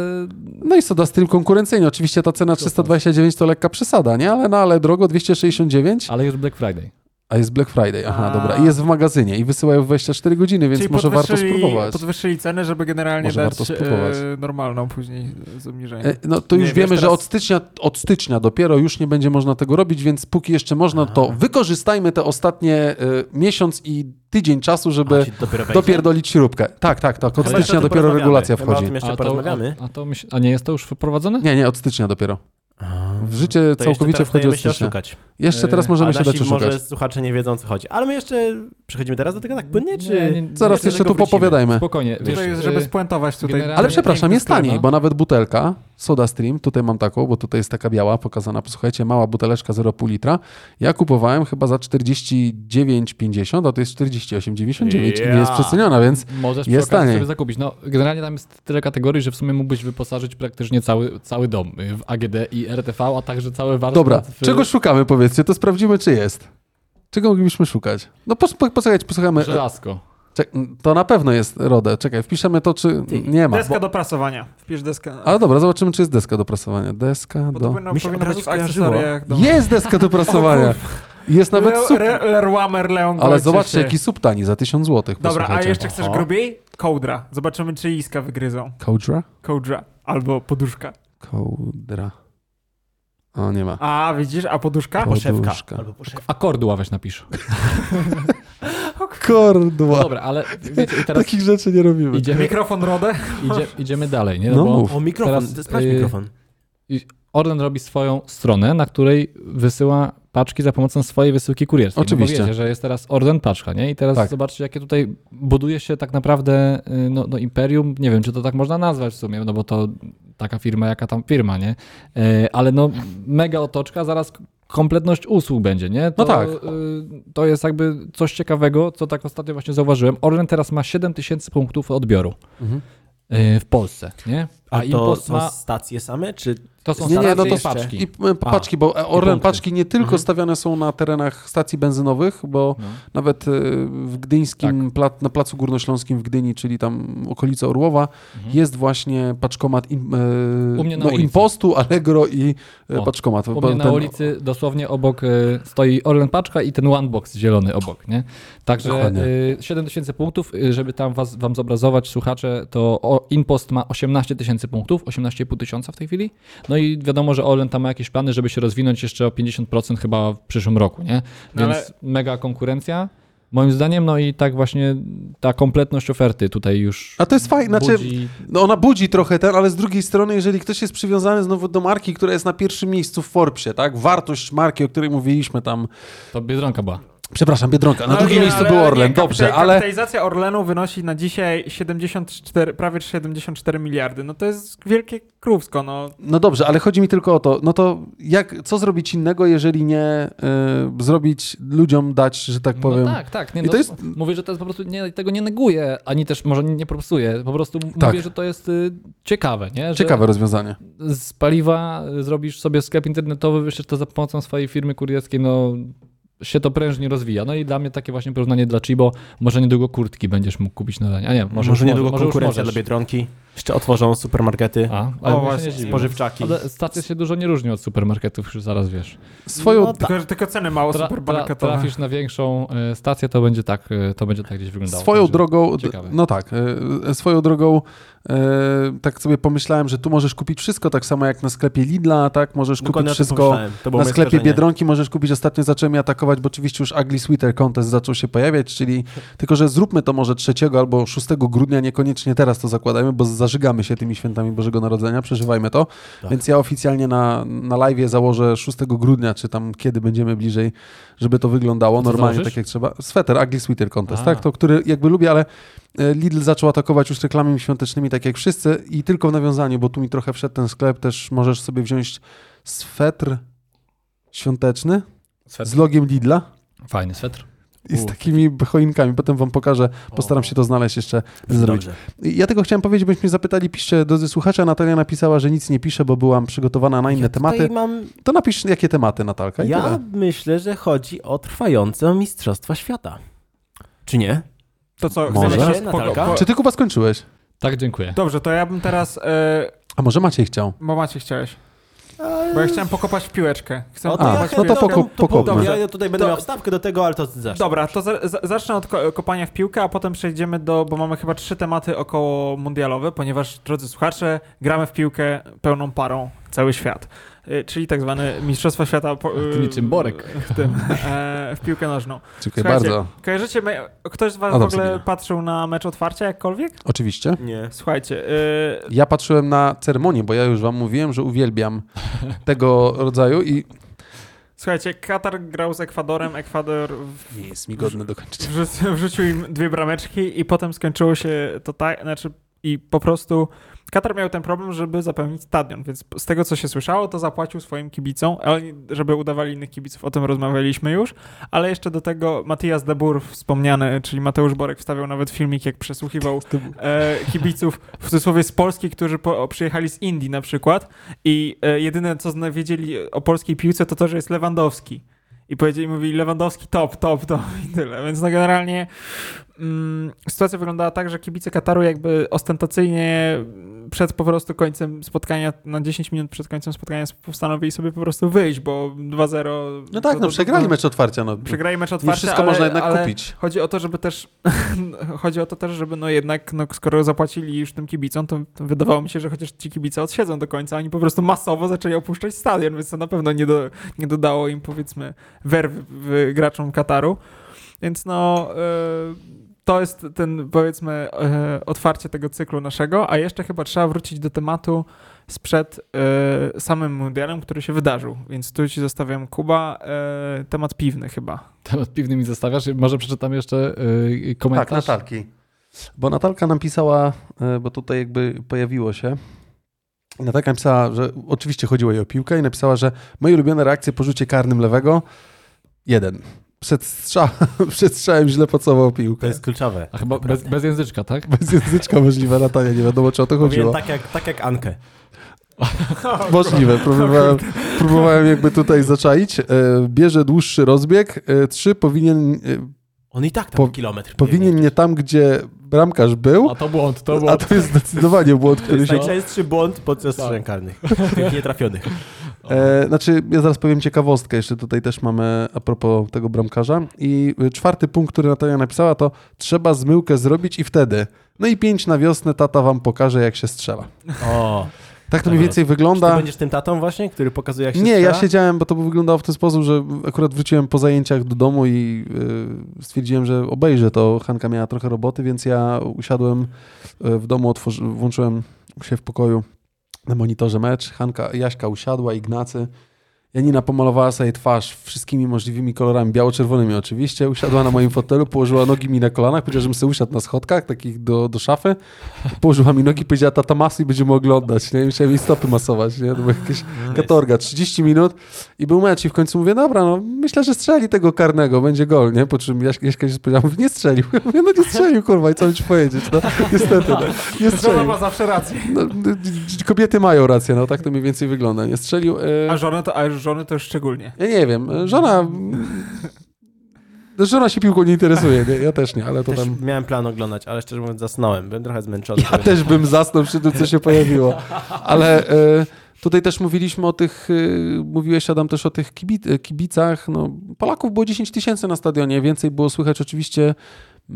A: No i Soda Stream konkurencyjnie. Oczywiście ta cena 329 to lekka przesada, nie? Ale, no, ale drogo 269,
D: Ale już Black Friday.
A: a jest Black Friday. Aha,
C: A.
A: dobra. I jest w magazynie i wysyłają w 24 godziny, więc
C: Czyli
A: może warto
C: podwyższyli-
A: spróbować.
C: Podwyższyli cenę, żeby generalnie
A: Może warto
C: dać
A: spróbować.
C: e, normalną później z obniżeniem.
A: E, No to
E: Nie,
A: już
E: wiesz,
A: wiemy, że
E: teraz-
A: od stycznia, od stycznia dopiero już nie będzie można tego robić, więc póki jeszcze można, to wykorzystajmy te ostatnie e, miesiąc i tydzień czasu, żeby
E: A, czyli dopiero wejdzie?
A: dopierdolić śrubkę. Tak, tak, tak. Od
E: Chyba jeszcze
A: stycznia
E: o tym
A: dopiero
E: porozmawiamy.
A: regulacja
E: Chyba o
A: wchodzi.
E: tym jeszcze
D: a, to,
E: porozmawiamy.
D: a, a, to myśl, a nie jest to już wprowadzone?
A: Nie, nie, od stycznia dopiero. W życie
E: To
A: całkowicie
E: jeszcze
A: wchodzi od
E: teraz dajemy się
A: stycznia.
E: oszukać.
A: Jeszcze
D: E,
A: teraz możemy
E: a
A: się
E: nasi
A: dać oszukać.
E: może słuchacze nie wiedzą, o co chodzi. Ale my jeszcze przechodzimy teraz do tego tak płynnie, czy...
A: Zaraz
E: do
A: jeszcze
E: tego
A: tu
E: wrócimy.
A: popowiadajmy.
D: Spokojnie.
C: Tutaj
D: wiesz,
C: jest,
E: e,
C: żeby
D: y,
C: spuentować tutaj.
D: generalnie-
A: Ale przepraszam,
D: piękny
A: jest taniej,
D: sklepa.
A: bo nawet butelka Soda Stream, tutaj mam taką, bo tutaj jest taka biała pokazana, posłuchajcie, mała buteleczka 0,5 litra. Ja kupowałem chyba za 49,50, a to jest 48,99 i nie jest
E: Ja.
A: przeceniona, więc
D: Możesz przy
A: Jest
D: okazji
A: taniej.
D: sobie zakupić. No, generalnie tam jest tyle kategorii, że w sumie mógłbyś wyposażyć praktycznie cały, cały dom y, w AGD i RTV, a także cały warsztat.
A: dobra.
D: w,
A: Czego szukamy, powiedzcie, to sprawdzimy, czy jest. Czego moglibyśmy szukać? No pos- po- posłuchajcie, posłuchamy.
D: Żelazko.
A: Czek- to na pewno jest RODE. Czekaj, wpiszemy to, czy nie ma.
C: Deska do prasowania. Wpisz deskę.
A: Ale no. dobra, zobaczymy, czy jest deska do prasowania. Deska
C: Bo
A: do...
C: to powinno,
E: Mi się
C: powinno
E: od
C: być w
E: razu skojarzyło.
C: akcesoriach. Do...
A: Jest deska do prasowania. Jest nawet
C: Le-
A: sub...
C: Re- Lerwamer Leon
A: Ale
C: Wojciech.
A: zobaczcie, jaki subtani za 1000 zł.
C: Dobra, a jeszcze chcesz
E: Aha.
C: grubiej? Kołdra. Zobaczymy, czy iska wygryzą.
A: Kołdra?
C: Kołdra. Albo poduszka.
A: Kołdra. O, nie ma.
C: A, widzisz? A poduszka?
A: Ko-
E: Poszewka.
A: Poduszka.
E: Albo poszewka.
D: Akordła weź napisz.
A: Kordła.
D: Dobra, ale wiecie, i teraz
A: Takich rzeczy nie robimy.
D: idziemy,
C: Mikrofon Rodę.
D: idzie, idziemy dalej, nie?
A: No
D: bo
A: mów.
E: O, mikrofon.
D: Teraz,
E: Sprawdź
D: y,
E: mikrofon.
D: Orlen robi swoją stronę, na której wysyła paczki za pomocą swojej wysyłki kurierskiej.
A: Oczywiście.
D: No bo wiecie, że jest teraz Orlen paczka, nie? I teraz
A: Tak.
D: zobaczcie, jakie tutaj buduje się tak naprawdę y, no, no, imperium. Nie wiem, czy to tak można nazwać w sumie, no bo to taka firma, jaka tam firma, nie? E, Ale no mega otoczka, zaraz k- kompletność usług będzie, nie? To,
A: No tak.
D: y, To jest jakby coś ciekawego, co tak ostatnio właśnie zauważyłem. Orlen teraz ma 7 tysięcy punktów odbioru
A: Mhm.
D: y, w Polsce, nie? A,
E: A to
D: Impost
E: są
D: ma...
E: stacje same, czy...
D: To są
A: Nie, nie,
D: stacje
A: no to
D: i
A: I
D: paczki.
A: e, paczki, bo e,
D: i
A: Orlen
D: punkty.
A: paczki nie tylko stawiane są na terenach stacji benzynowych, bo
D: No.
A: nawet e, w gdyńskim, pla- na Placu Górnośląskim w Gdyni, czyli tam okolice Orłowa, jest właśnie paczkomat im, e,
D: U mnie na
A: no,
D: ulicy.
A: Impostu, Allegro i e,
D: O,
A: paczkomat.
D: U
A: Bo
D: mnie na
A: ten-
D: ulicy dosłownie obok y, stoi Orlen Paczka i ten One Box zielony obok, nie? Także
A: Dokładnie.
D: y, 7 tysięcy punktów, y, żeby tam was, wam zobrazować, słuchacze, to o, Inpost ma 18 tysięcy punktów, 18,5 tysiąca w tej chwili. No i wiadomo, że Orlen tam ma jakieś plany, żeby się rozwinąć jeszcze o 50% chyba w przyszłym roku, nie?
C: No
D: Więc mega konkurencja. Moim zdaniem, no i tak właśnie ta kompletność oferty tutaj już
A: A to jest fajne, znaczy
D: budzi...
A: No ona budzi trochę ten, ale z drugiej strony, jeżeli ktoś jest przywiązany znowu do marki, która jest na pierwszym miejscu w Forbesie, tak? Wartość marki, o której mówiliśmy tam.
D: To Biedronka była.
A: Przepraszam, Biedronka. Na
C: Ale
A: drugim
C: No nie,
A: miejscu
C: ale
A: był
C: nie,
A: Orlen,
C: kapita-
A: dobrze, ale
C: Kapitalizacja Orlenu wynosi na dzisiaj 74, prawie 74 miliardy. No to jest wielkie krówsko, no.
A: no dobrze, ale chodzi mi tylko o to, no to jak, co zrobić innego, jeżeli nie y, zrobić ludziom dać, że tak powiem.
D: No tak, tak. Nie,
A: I
D: no,
A: to jest-
D: Mówię, że to jest po prostu, nie, tego nie neguję, ani też może nie propsuję. Po prostu m-
A: Tak.
D: mówię, że to jest y, ciekawe, nie? Że
A: Ciekawe rozwiązanie.
D: Z paliwa y, zrobisz sobie sklep internetowy, wyślesz to za pomocą swojej firmy kurierskiej, no się to prężnie rozwija. No i dla mnie takie właśnie porównanie dla Chibo, może niedługo kurtki będziesz mógł kupić na danie. A nie, może,
E: Może,
D: już
E: niedługo
D: może, może już
E: konkurencja
D: możesz.
E: dla Biedronki. Jeszcze otworzą supermarkety.
D: A,
C: O,
D: ale o,
C: właśnie,
D: się nie dziwię.
E: Spożywczaki.
D: Ale stacje się dużo nie różnią od supermarketów, już zaraz wiesz.
A: Swoją,
E: No tak.
C: Tylko, że tylko ceny mało
D: Tra, tra,
C: supermarketowe.
D: trafisz na większą y, stację, to będzie tak, y, to będzie tak gdzieś wyglądało.
A: Swoją
D: Także-
A: drogą, d-
D: ciekawe.
A: no tak, e, swoją drogą e, tak sobie pomyślałem, że tu możesz kupić wszystko, tak samo jak na sklepie Lidla, tak? Możesz
E: Dokładnie o
A: kupić
B: No
E: tym
A: wszystko
E: pomyślałem. To było
A: na
E: moje
A: sklepie
E: skojarzenie.
A: Biedronki, możesz kupić, ostatnio zacząłem je atakować konkurować, bo oczywiście już Ugly Sweater Contest zaczął się pojawiać, czyli tylko, że zróbmy to może 3 albo 6 grudnia, niekoniecznie teraz to zakładajmy, bo zażygamy się tymi świętami Bożego Narodzenia, przeżywajmy to.
B: Tak.
A: Więc ja oficjalnie na, na live założę 6 grudnia, czy tam kiedy będziemy bliżej, żeby to wyglądało
D: Co
A: normalnie,
D: założysz?
A: tak jak trzeba. Sweter, Ugly Sweater Contest,
D: A.
A: tak? To, który jakby lubię, ale e, Lidl zaczął atakować już reklamami świątecznymi, tak jak wszyscy i tylko w nawiązaniu, bo tu mi trochę wszedł ten sklep, też możesz sobie wziąć swetr świąteczny z logiem Lidla
D: Fajny swetr.
A: i z takimi choinkami. Potem wam pokażę, postaram się to znaleźć jeszcze, zrobić.
B: Dobrze.
A: I Ja tego chciałem powiedzieć, byśmy zapytali, piszcie drodzy słuchacze, a Natalia napisała, że nic nie pisze, bo byłam przygotowana na inne tematy.
B: Tutaj mam,
A: To napisz, jakie tematy, Natalka, i
B: ja
A: tyle.
B: myślę, że chodzi o trwające Mistrzostwa Świata. Czy nie?
C: To co,
A: Może?
C: chcemy się
B: Natalka?
A: Czy ty, Kuba, skończyłeś?
D: Tak, dziękuję.
C: Dobrze, to ja bym teraz... E,
A: A może Maciej chciał?
C: bo Maciej chciałeś. Bo ja chciałem pokopać w piłeczkę. Chcę
B: O,
A: A, no
B: ja
C: pokopać w
A: to
B: chętnie-
C: piłeczkę.
A: poko- pokopmy.
B: Dobrze,
C: Dobrze.
B: Ja tutaj będę
C: To-
B: miał wstawkę do tego, ale to zacznę.
C: Dobra, to za, za, zacznę od ko- kopania w piłkę, a potem przejdziemy do, bo mamy chyba trzy tematy około mundialowe, ponieważ, drodzy słuchacze, gramy w piłkę pełną parą cały świat. Y, Czyli tak zwane Mistrzostwa Świata. Po, y,
D: Ty niczym Borek.
C: W tym, e, w piłkę nożną.
A: Dziękuję
C: Słuchajcie.
A: bardzo.
C: Kojarzycie, me- ktoś z Was
D: No
A: Adam
C: w ogóle
A: Sabina.
C: patrzył na mecz otwarcia jakkolwiek?
A: Oczywiście.
B: Nie.
C: Słuchajcie, y,
A: Ja patrzyłem na ceremonię, bo ja już wam mówiłem, że uwielbiam tego rodzaju i
C: słuchajcie, Katar grał z Ekwadorem, Ekwador w
A: nie jest mi godne dokończyć.
C: Wrzucił, wrzucił im dwie brameczki i potem skończyło się to tak, znaczy i po prostu Katar miał ten problem, żeby zapełnić stadion, więc z tego co się słyszało, to zapłacił swoim kibicom, a oni, żeby udawali innych kibiców, o tym rozmawialiśmy już, ale jeszcze do tego Matthias de Boer wspomniany, czyli Mateusz Borek wstawiał nawet filmik, jak przesłuchiwał e, kibiców w cudzysłowie z Polski, którzy po, przyjechali z Indii na przykład i e, jedyne co zna- wiedzieli o polskiej piłce to to, że jest Lewandowski. I powiedzieli, mówili Lewandowski top, top, top i tyle. Więc no generalnie mm, sytuacja wyglądała tak, że kibice Kataru jakby ostentacyjnie przed po prostu końcem spotkania, na 10 minut przed końcem spotkania postanowili sobie po prostu wyjść, bo 2-0...
A: No tak,
C: to-
A: no
C: to-
A: przegrali
C: to-
A: mecz otwarcia. No.
C: Przegrali mecz otwarcia,
A: Nie wszystko
C: ale,
A: można jednak
C: ale
A: kupić.
C: Chodzi o to, żeby też, [laughs] chodzi o to też, żeby no jednak, no skoro zapłacili już tym kibicom, to, to wydawało mi się, że chociaż ci kibice odsiedzą do końca, oni po prostu masowo zaczęli opuszczać stadion, więc to na pewno nie, do, nie dodało im powiedzmy werwy w- graczom Kataru. Więc no, y, to jest ten powiedzmy y, otwarcie tego cyklu naszego, a jeszcze chyba trzeba wrócić do tematu sprzed y, samym mundialem, który się wydarzył, więc tu ci zostawiam Kuba, y, temat piwny chyba.
D: Temat piwny mi zostawiasz. Może przeczytam jeszcze y, komentarz.
A: Tak, Natalki. Bo Natalka nam pisała, e, bo tutaj jakby pojawiło się. Natalka napisała, że oczywiście chodziło jej o piłkę i napisała, że moje ulubione reakcje po rzucie karnym lewego jeden. Przed, strzałem, [laughs] przed strzałem źle pocałował
B: To
A: piłkę.
B: jest kluczowe.
D: A chyba bez, bez języczka, tak?
A: Bez języczka możliwe latanie, nie wiadomo czy o to
B: Mówiłem
A: chodziło.
B: tak jak, tak jak Ankę.
A: Możliwe, [laughs] próbowałem, próbowałem jakby tutaj zaczaić. E, Bierze dłuższy rozbieg, E, trzy powinien, e,
B: On i tak tam
A: Po-
B: kilometr.
A: powinien nie tam, gdzie bramkarz był,
D: A to błąd, to
A: a
D: błąd.
A: to jest zdecydowanie błąd, który się
B: Najczęstszy błąd podczas
C: Tak.
B: strzelania karnych. [laughs] Tych nietrafionych.
A: E, znaczy, ja zaraz powiem ciekawostkę, jeszcze tutaj też mamy a propos tego bramkarza. I y, czwarty punkt, który Natalia napisała, to trzeba zmyłkę zrobić i wtedy. No i pięć na wiosnę, tata wam pokaże, jak się strzela.
B: O.
A: Tak to mniej więcej
B: Czy
A: wygląda.
B: ty będziesz tym tatą właśnie, który pokazuje jak się
A: Nie,
B: strzela?
A: ja siedziałem, bo to wyglądało w ten sposób, że akurat wróciłem po zajęciach do domu i y, stwierdziłem, że obejrzę to. Hanka miała trochę roboty, więc ja usiadłem y, w domu, otworzy, włączyłem się w pokoju na monitorze mecz. Hanka, Jaśka usiadła, Ignacy. Janina pomalowała sobie twarz wszystkimi możliwymi kolorami, biało-czerwonymi oczywiście. Usiadła na moim fotelu, położyła nogi mi na kolanach, powiedziała, żebym sobie usiadł na schodkach, takich do, do szafy. Położyła mi nogi, powiedziała, tata masuj, będziemy oglądać, nie? I Musiałem jej stopy masować, nie? To było jakieś katorga, 30 minut i był mecz i w końcu mówię, dobra, no myślę, że strzeli tego karnego, będzie gol, nie? Po czym Jaś- Jaśka się spodziewała, mówi, nie strzelił. [laughs] Ja mówię, no nie strzelił, kurwa, i co ci powiedzieć, no? Niestety, no. nie
C: Żona
A: strzelił.
C: ma zawsze rację.
A: No, d- d- kobiety mają rację, no tak to mniej więcej wygląda, nie strzelił. e,
C: A żony to, a już żony to już szczególnie.
A: Ja nie wiem, żona... [laughs] Żona się piłką nie interesuje, nie? ja też nie, ale to
B: Też
A: tam...
B: miałem plan oglądać, ale szczerze mówiąc zasnąłem. Byłem trochę zmęczony.
A: [laughs] Ja też bym zasnął przy tym, co się pojawiło. Ale e, tutaj też mówiliśmy o tych, e, mówiłeś Adam też o tych kibic, kibicach. No, Polaków było 10 tysięcy na stadionie, więcej było słychać oczywiście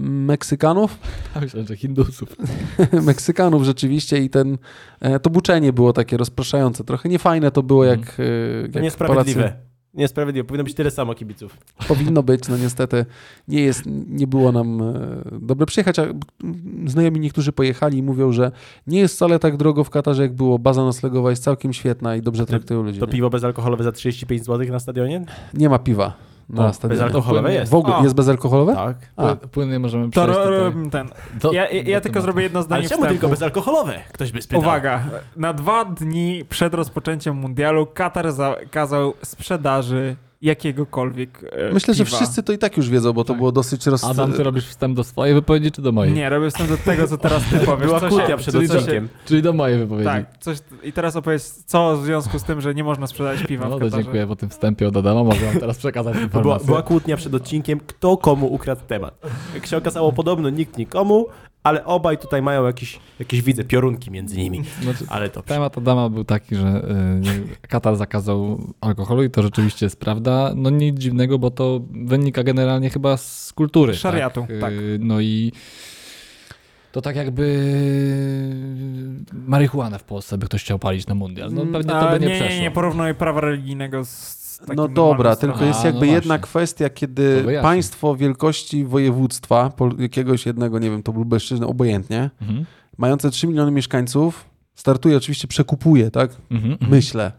A: Meksykanów, [laughs]
D: Ja myślałem, że Hindusów.
A: Meksykanów rzeczywiście i ten, e, to buczenie było takie rozpraszające, trochę niefajne to było jak, e, jak
B: To niesprawiedliwe.
A: Polacy,
B: Niesprawiedliwe, powinno być tyle samo kibiców.
A: Powinno być, no niestety nie jest, nie było nam e, dobre przyjechać, a mm, znajomi niektórzy pojechali i mówią, że nie jest wcale tak drogo w Katarze, jak było. Baza noclegowa jest całkiem świetna i dobrze traktują ludzi.
B: To
A: nie?
B: piwo bezalkoholowe za 35 zł na stadionie?
A: Nie ma piwa na stadionie.
B: bezalkoholowe jest.
A: W ogóle
C: O.
A: jest bezalkoholowe?
B: Tak.
A: A.
D: Pły- Płynnie możemy
C: To
D: przejść
C: ro-
D: tutaj.
C: ten.
D: do-
C: Ja, ja,
D: do
C: ja tylko
D: tematu.
C: zrobię jedno zdanie
B: Ale czemu
C: wstępu.
B: tylko bezalkoholowe? Ktoś by spytał.
C: Uwaga, na dwa dni przed rozpoczęciem mundialu Katar zakazał sprzedaży jakiegokolwiek e,
A: Myślę, że
C: piwa.
A: wszyscy to i tak już wiedzą, bo to było dosyć roz...
D: Adam, ty robisz wstęp do swojej wypowiedzi czy do mojej?
C: Nie, robię wstęp do tego, co teraz ty powiesz.
B: Była
C: Co
B: kłótnia przed
C: co
B: odcinkiem.
D: Czyli do mojej wypowiedzi.
C: Tak, coś, I teraz opowiedz, co w związku z tym, że nie można sprzedawać piwa
D: No
C: w
D: to
C: Katarze.
D: dziękuję po tym wstępie od Adama, mogę wam teraz przekazać
B: Była,
D: informację.
B: była kłótnia przed odcinkiem, kto komu ukradł temat. Jak się okazało, podobno nikt nikomu, ale obaj tutaj mają jakieś, jakieś widzę, piorunki między nimi.
D: Znaczy,
B: Ale to przy...
D: Temat Adama był taki, że y, Katar zakazał alkoholu i to rzeczywiście jest prawda. No nic dziwnego, bo to wynika generalnie chyba z kultury.
C: Szariatu,
D: Y,
C: tak.
D: No i to tak jakby marihuanę w Polsce by ktoś chciał palić na mundial. No pewnie to
C: A,
D: by nie,
C: nie, nie,
D: przeszło.
C: nie porównuj prawa religijnego z, z takim
A: No
C: normalnym
A: dobra,
C: stanem.
A: tylko jest
D: A, no
A: jakby
D: właśnie.
A: jedna kwestia,
D: To
A: kiedy
D: wyjaśni.
A: państwo wielkości województwa, pol- jakiegoś jednego, nie wiem, to Lubelszczyzna, obojętnie,
D: Mhm.
A: mające 3 miliony mieszkańców, startuje, oczywiście przekupuje, tak?
D: Mhm, mhm.
A: Myślę.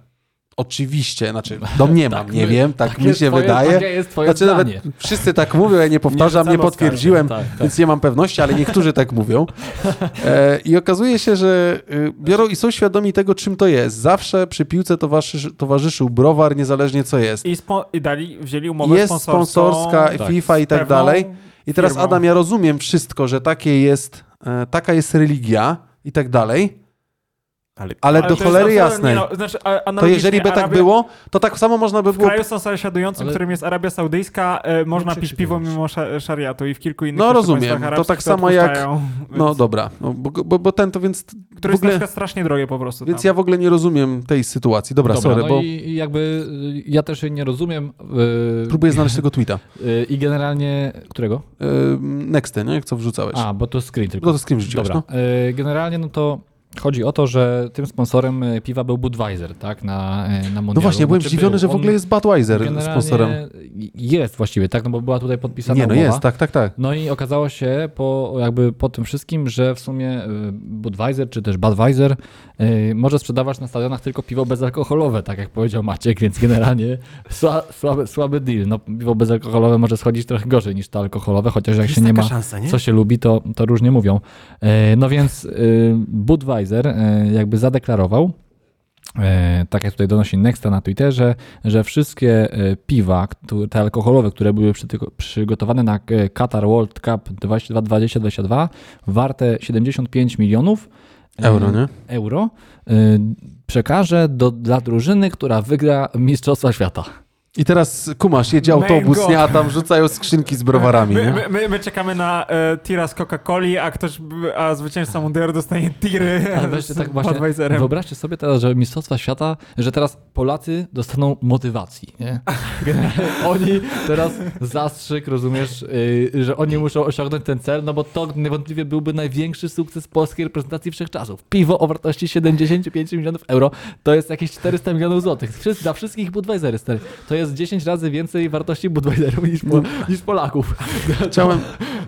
A: Oczywiście,
D: [laughs]
A: znaczy domniemam,
D: Tak,
A: nie
D: my-
A: wiem, tak mi
D: Takie
A: się
D: jest twoje-
A: wydaje.
D: Takie jest twoje
A: znaczy
D: zdanie.
A: nawet wszyscy tak mówią, ja nie powtarzam, nie,
B: rzucamy oskarżeń,
A: potwierdziłem,
D: tak, tak.
A: więc nie mam pewności, ale niektórzy tak mówią. E, I okazuje się, że y, biorą i są świadomi tego, czym to jest. Zawsze przy piłce towarzyszy, towarzyszył browar, niezależnie co jest.
C: I, spo- I dali, wzięli umowę
A: jest sponsorska,
C: z
A: FIFA i tak
C: pewną
A: dalej. I teraz
C: firmą.
A: Adam, ja rozumiem wszystko, że takie jest, e, taka jest religia i tak dalej,
B: Ale,
A: ale,
C: Ale
A: do
C: to jest
A: cholery
C: absolutnie
A: jasnej.
C: no- znaczy, a-
A: To
C: analogicznie
A: jeżeli by tak
C: Arabia-
A: było, to tak samo można by
C: W
A: było
C: kraju są sąsiadującym,
D: Ale-
C: którym jest Arabia Saudyjska, e, można pić
D: krzyczy
C: piwo
D: wręcz.
C: mimo sza- szariatu i w kilku innych
A: No,
C: jeszcze
A: rozumiem.
C: państwach
A: To
C: arabskich
A: tak samo jak-
C: odpuszczają, więc-
A: No dobra, no, bo, bo, bo ten to więc,
C: Które
A: w
C: jest na
A: ogóle-
C: przykład strasznie drogie po prostu.
A: więc
C: tam.
A: ja w ogóle nie rozumiem tej sytuacji. Dobra, sorry,
D: no
A: bo
D: i, i jakby y, ja też jej nie rozumiem. y,
A: próbuję znaleźć tego tweeta.
D: y, I generalnie... Którego?
A: Yy, Nexty, nie? Jak co wrzucałeś?
D: A, bo to screen tylko.
A: no to z kim rzuciłeś,
D: Dobra.
A: no?
D: E, Generalnie no to chodzi o to, że tym sponsorem e, piwa był Budweiser, tak? Na, e, na mundialu.
A: No właśnie, byłem
D: Znaczy,
A: zdziwiony,
D: był.
A: że w
D: On
A: ogóle jest Budweiser
D: generalnie
A: sponsorem.
D: Jest właściwie, tak? No bo była tutaj podpisana
A: Nie, no
D: umowa.
A: jest, tak, tak, tak.
D: No i okazało się po, jakby po tym wszystkim, że w sumie y, Budweiser czy też Budweiser y, może sprzedawać na stadionach tylko piwo bezalkoholowe, tak jak powiedział Maciek, więc generalnie sła, słaby, słaby deal. No, piwo bezalkoholowe może schodzić trochę gorzej niż to alkoholowe, chociaż jak
B: jest
D: się nie
B: taka
D: ma
B: szansa, nie?
D: co się lubi, to, to różnie mówią. E, No więc e, Budweiser e, jakby zadeklarował, e, tak jak tutaj donosi Nexta na Twitterze, że wszystkie e, piwa, któ- te alkoholowe, które były przyty- przygotowane na e, Qatar World Cup 2022, warte 75 milionów e,
A: Euro, nie?
D: euro e, przekaże do, dla drużyny, która wygra Mistrzostwa Świata.
A: I teraz kumasz, jedzie
C: Mango.
A: autobus, nie? A tam rzucają skrzynki z browarami,
C: My,
A: nie?
D: [laughs]
C: my, my, my czekamy na e, tira z Coca-Coli, a ktoś, a zwycięzca Mundialu dostanie tiry [laughs]
D: Ale weźcie
C: z
D: tak właśnie,
C: Budweiserem.
D: Wyobraźcie sobie teraz, że Mistrzostwa Świata, że teraz Polacy dostaną motywacji, nie? oni teraz zastrzyk, rozumiesz, yy, że oni muszą osiągnąć ten cel, no bo to niewątpliwie byłby największy sukces polskiej reprezentacji wszechczasów. Piwo o wartości 75 milionów euro to jest jakieś 400 milionów złotych. Wszyscy, dla wszystkich Budweisery, stary. To jest 10 razy więcej wartości Budweiserów niż, po, niż Polaków.
A: Chciałem,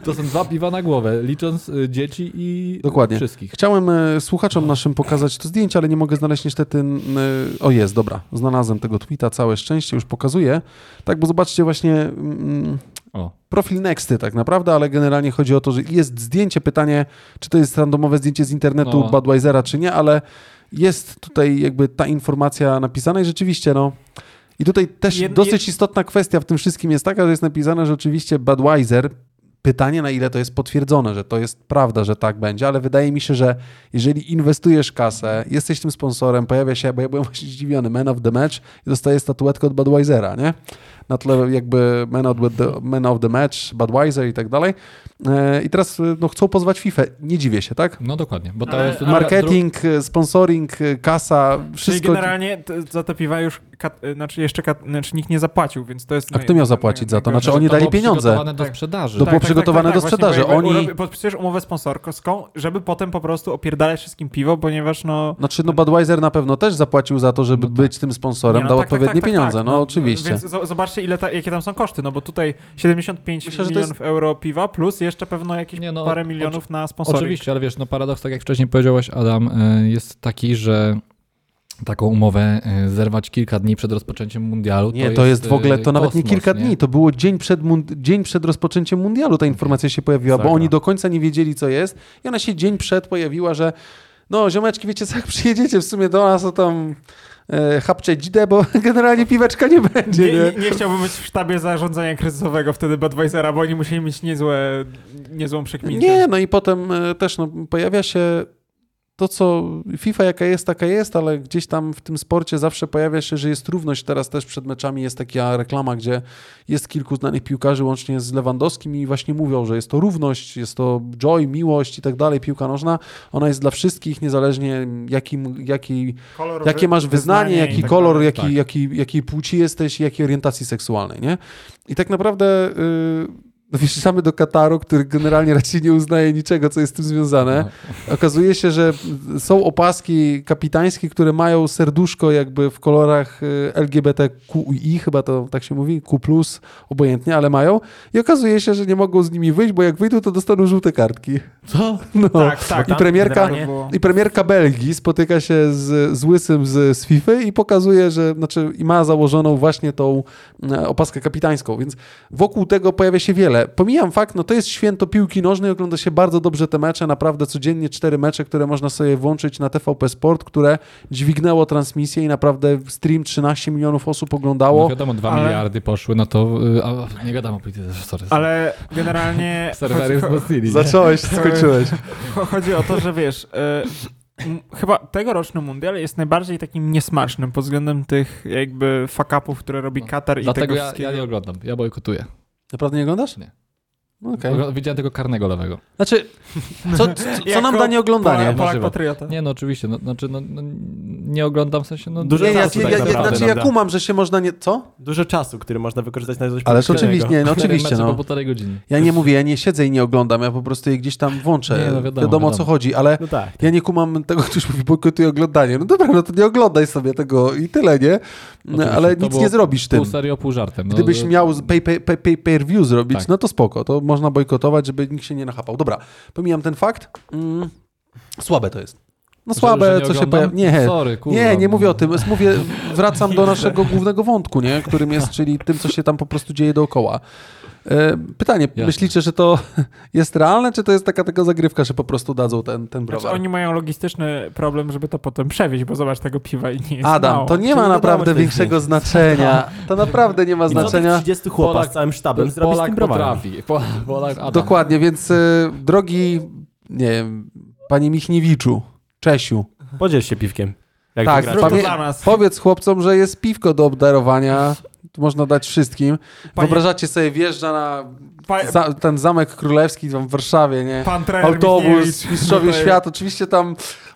D: To są dwa piwa na głowę, licząc y, dzieci i
A: Dokładnie.
D: wszystkich.
A: Chciałem e, słuchaczom naszym pokazać to zdjęcie, ale nie mogę znaleźć niestety. n- e, O jest, dobra. Znalazłem tego tweeta, całe szczęście, już pokazuję. Tak, bo zobaczcie właśnie mm,
D: O.
A: profil Nexty tak naprawdę, ale generalnie chodzi o to, że jest zdjęcie, pytanie, czy to jest randomowe zdjęcie z internetu
D: No.
A: Budweisera, czy nie, ale jest tutaj jakby ta informacja napisana i rzeczywiście, no. I tutaj też
C: Jed-
A: dosyć istotna kwestia w tym wszystkim jest taka, że jest napisane, że oczywiście Budweiser Pytanie, na ile to jest potwierdzone, że to jest prawda, że tak będzie, ale wydaje mi się, że jeżeli inwestujesz kasę, jesteś [laughs] tym sponsorem, pojawia się, bo ja byłem właśnie zdziwiony, man of the match i dostaje statuetkę od Budweisera, nie? na tle jakby man of the, man of the match, Budweiser i tak dalej. E, I teraz e, no, chcą pozwać FIFA. Nie dziwię się, tak?
D: No dokładnie, bo to
C: Ale-
D: jest...
A: Marketing, e, sponsoring, e, kasa,
C: Czyli
A: wszystko.
C: No generalnie t- za te piwa już, kat, y, znaczy jeszcze kat, znaczy nikt nie zapłacił, więc to jest...
A: A kto miał zapłacić za to? Znaczy
D: to
A: oni dali
D: było
A: pieniądze.
D: przygotowane do
C: Tak.
D: sprzedaży.
A: To było No przygotowane do
C: właśnie,
A: sprzedaży.
C: bo jakby
A: Oni-
C: urobi- Podpisujesz umowę sponsorską, żeby potem po prostu opierdalać wszystkim piwo, ponieważ no...
A: Znaczy, no Budweiser na pewno też zapłacił za to, żeby być tym sponsorem,
C: Nie, no
A: dał
C: tak, tak,
A: odpowiednie
C: tak, tak,
A: pieniądze,
C: tak,
A: no, oczywiście.
C: Więc zo- zobaczcie, ile ta, jakie tam są koszty, no bo tutaj 75
A: Myślę, że to
C: milionów euro piwa plus jeszcze pewno jakieś
D: Nie, no,
C: parę
D: o-
C: milionów na sponsoring.
D: Oczywiście, ale wiesz, no paradoks, tak jak wcześniej powiedziałeś, Adam, y, jest taki, że taką umowę y, zerwać kilka dni przed rozpoczęciem mundialu.
A: Nie, to jest w ogóle,
D: y,
A: to nawet nie
D: kosmos,
A: kilka dni, to było dzień przed, mund- dzień przed rozpoczęciem mundialu ta informacja się pojawiła, bo
D: Masakra.
A: oni do końca nie wiedzieli, co jest i ona się dzień przed pojawiła, że no, ziomeczki, wiecie co, jak [laughs] przyjedziecie w sumie do nas, to tam e, chapcze dzidę, bo [laughs] generalnie piweczka nie będzie,
C: Nie,
A: nie?
C: nie, nie chciałbym być w sztabie zarządzania kryzysowego wtedy Budweisera, bo oni musieli mieć niezłe, niezłą przekminę.
A: Nie, no i potem e, też no, pojawia się to, co FIFA jaka jest, taka jest, ale gdzieś tam w tym sporcie zawsze pojawia się, że jest równość. Teraz też przed meczami jest taka reklama, gdzie jest kilku znanych piłkarzy, łącznie z Lewandowskim i właśnie mówią, że jest to równość, jest to joy, miłość i tak dalej, piłka nożna. Ona jest dla wszystkich, niezależnie jakim, jaki,
C: Kolor,
A: jakie
C: wy-
A: masz wyznanie,
C: wyznanie i
A: jaki
C: tak
A: kolor,
C: dalej.
A: jaki, jaki, jakiej płci jesteś, i jakiej orientacji seksualnej, nie? I tak naprawdę yy, no wjeżdżamy do Kataru, który generalnie raczej nie uznaje niczego, co jest z tym związane. Okazuje się, że są opaski kapitańskie, które mają serduszko jakby w kolorach y, LGBTQI, chyba to tak się mówi, Q+, obojętnie, ale mają. I okazuje się, że nie mogą z nimi wyjść, bo jak wyjdą, to dostaną żółte kartki. Co? No.
C: Tak, tak.
A: I premierka,
C: To było-
A: i premierka Belgii spotyka się z, z Łysym z, z FIFA i pokazuje, że znaczy, i ma założoną właśnie tą e, opaskę kapitańską, więc wokół tego pojawia się wiele. Pomijam fakt, no to jest święto piłki nożnej, ogląda się bardzo dobrze te mecze, naprawdę codziennie cztery mecze, które można sobie włączyć na TVP Sport, które dźwignęło transmisję i naprawdę stream 13 milionów osób
D: No
A: oglądało.
D: wiadomo, dwa
C: Ale-
D: miliardy poszły, no to... y, A, nie gadam o polityce, sorry. Ale...
C: Ale
A: [laughs]
C: generalnie
D: Serwery wzmocnili. nie?
A: Zacząłeś, skończyłeś.
C: cho- [laughs] chodzi o to, że wiesz, y, m- chyba tegoroczny mundial jest najbardziej takim niesmacznym pod względem tych jakby fuck-upów, które robi Katar i
D: No. Dlatego
C: tego
D: ja,
C: wszystkiego.
D: ja
A: No,
D: nie oglądam, ja bojkotuję.
A: Naprawdę nie oglądasz?
D: Nie.
A: No Okej.
D: Okay. Widziałem tego karnego lewego.
A: Znaczy, co, co, co nam
C: Jako
A: da nieoglądanie?
C: Polak, Polak
D: Możliwe.
C: patriota.
D: Nie, no oczywiście, no, znaczy, no, no, nie oglądam, w sensie, no...
E: Dużo
A: Nie, ja,
E: czasu
A: ja,
E: tak
A: ja,
E: naprawdę
A: znaczy
E: nam
A: ja
E: da.
A: kumam, że się można nie... Co?
E: Dużo czasu, który można wykorzystać na coś
A: Ależ
E: pożytecznego.
A: oczywiście, nie, no oczywiście,
D: Mecze po
A: no.
D: półtorej godziny.
A: Ja nie mówię, ja nie siedzę i nie oglądam, ja po prostu je gdzieś tam włączę.
D: Nie, no
A: wiadomo,
D: wiadomo,
A: o co
D: wiadomo.
A: chodzi, ale
E: No tak.
A: ja nie kumam tego, ktoś mówi, bojkotuj oglądanie. No dobra, no to nie oglądaj sobie tego i tyle, nie? No,
D: Oczywiście,
A: ale
D: to
A: nic
D: było
A: nie zrobisz tym.
D: Pół serio, pół żartem. No,
A: Gdybyś
D: no,
A: miał z- pay, pay, pay, pay, per view zrobić,
D: Tak.
A: no to spoko, to można bojkotować, żeby nikt się nie nachapał. Dobra, pomijam ten fakt. Mm, słabe to jest. No
D: że-
A: słabe,
D: że nie
A: co się
D: oglądam?
A: pojawia. Nie,
D: Sorry, kurwa,
A: nie, nie
D: no.
A: mówię o tym.
D: [laughs]
A: Mówię, wracam do naszego głównego wątku, nie? którym jest, czyli tym, co się tam po prostu dzieje dookoła. E, Pytanie,
D: Jasne.
A: myślicie, że to [laughs] jest realne, czy to jest taka tylko zagrywka, że po prostu dadzą ten, ten browar?
C: Znaczy, oni mają logistyczny problem, żeby to potem przewieźć, bo zobacz, tego piwa i nie jest mało.
A: Adam, to nie ma
E: Czyli
A: naprawdę
E: dodałeś tych
A: większego
C: [laughs]
A: znaczenia. To naprawdę nie ma
E: I co tych
A: znaczenia.
E: 30 chłopa z
D: Polak-
E: całym sztabem zrobić z
D: Polak
E: tym browarem?
D: potrafi. Polak, Polak, Adam.
A: Dokładnie, więc y, drogi, nie wiem, panie Michniewiczu, Czesiu,
E: Podziel się piwkiem. Jak
A: Tak,
E: wygrasz.
C: Zrób to
A: pamię-
C: dla nas.
A: powiedz chłopcom, że jest piwko do obdarowania, Tu można dać wszystkim.
C: Panie-
A: Wyobrażacie sobie, wjeżdża na
C: Pa,
A: za, ten zamek królewski tam w Warszawie, nie?
C: pan trener
A: Autobus,
C: Michniewicz.
A: mistrzowie
C: Tutaj-
A: świata, oczywiście tam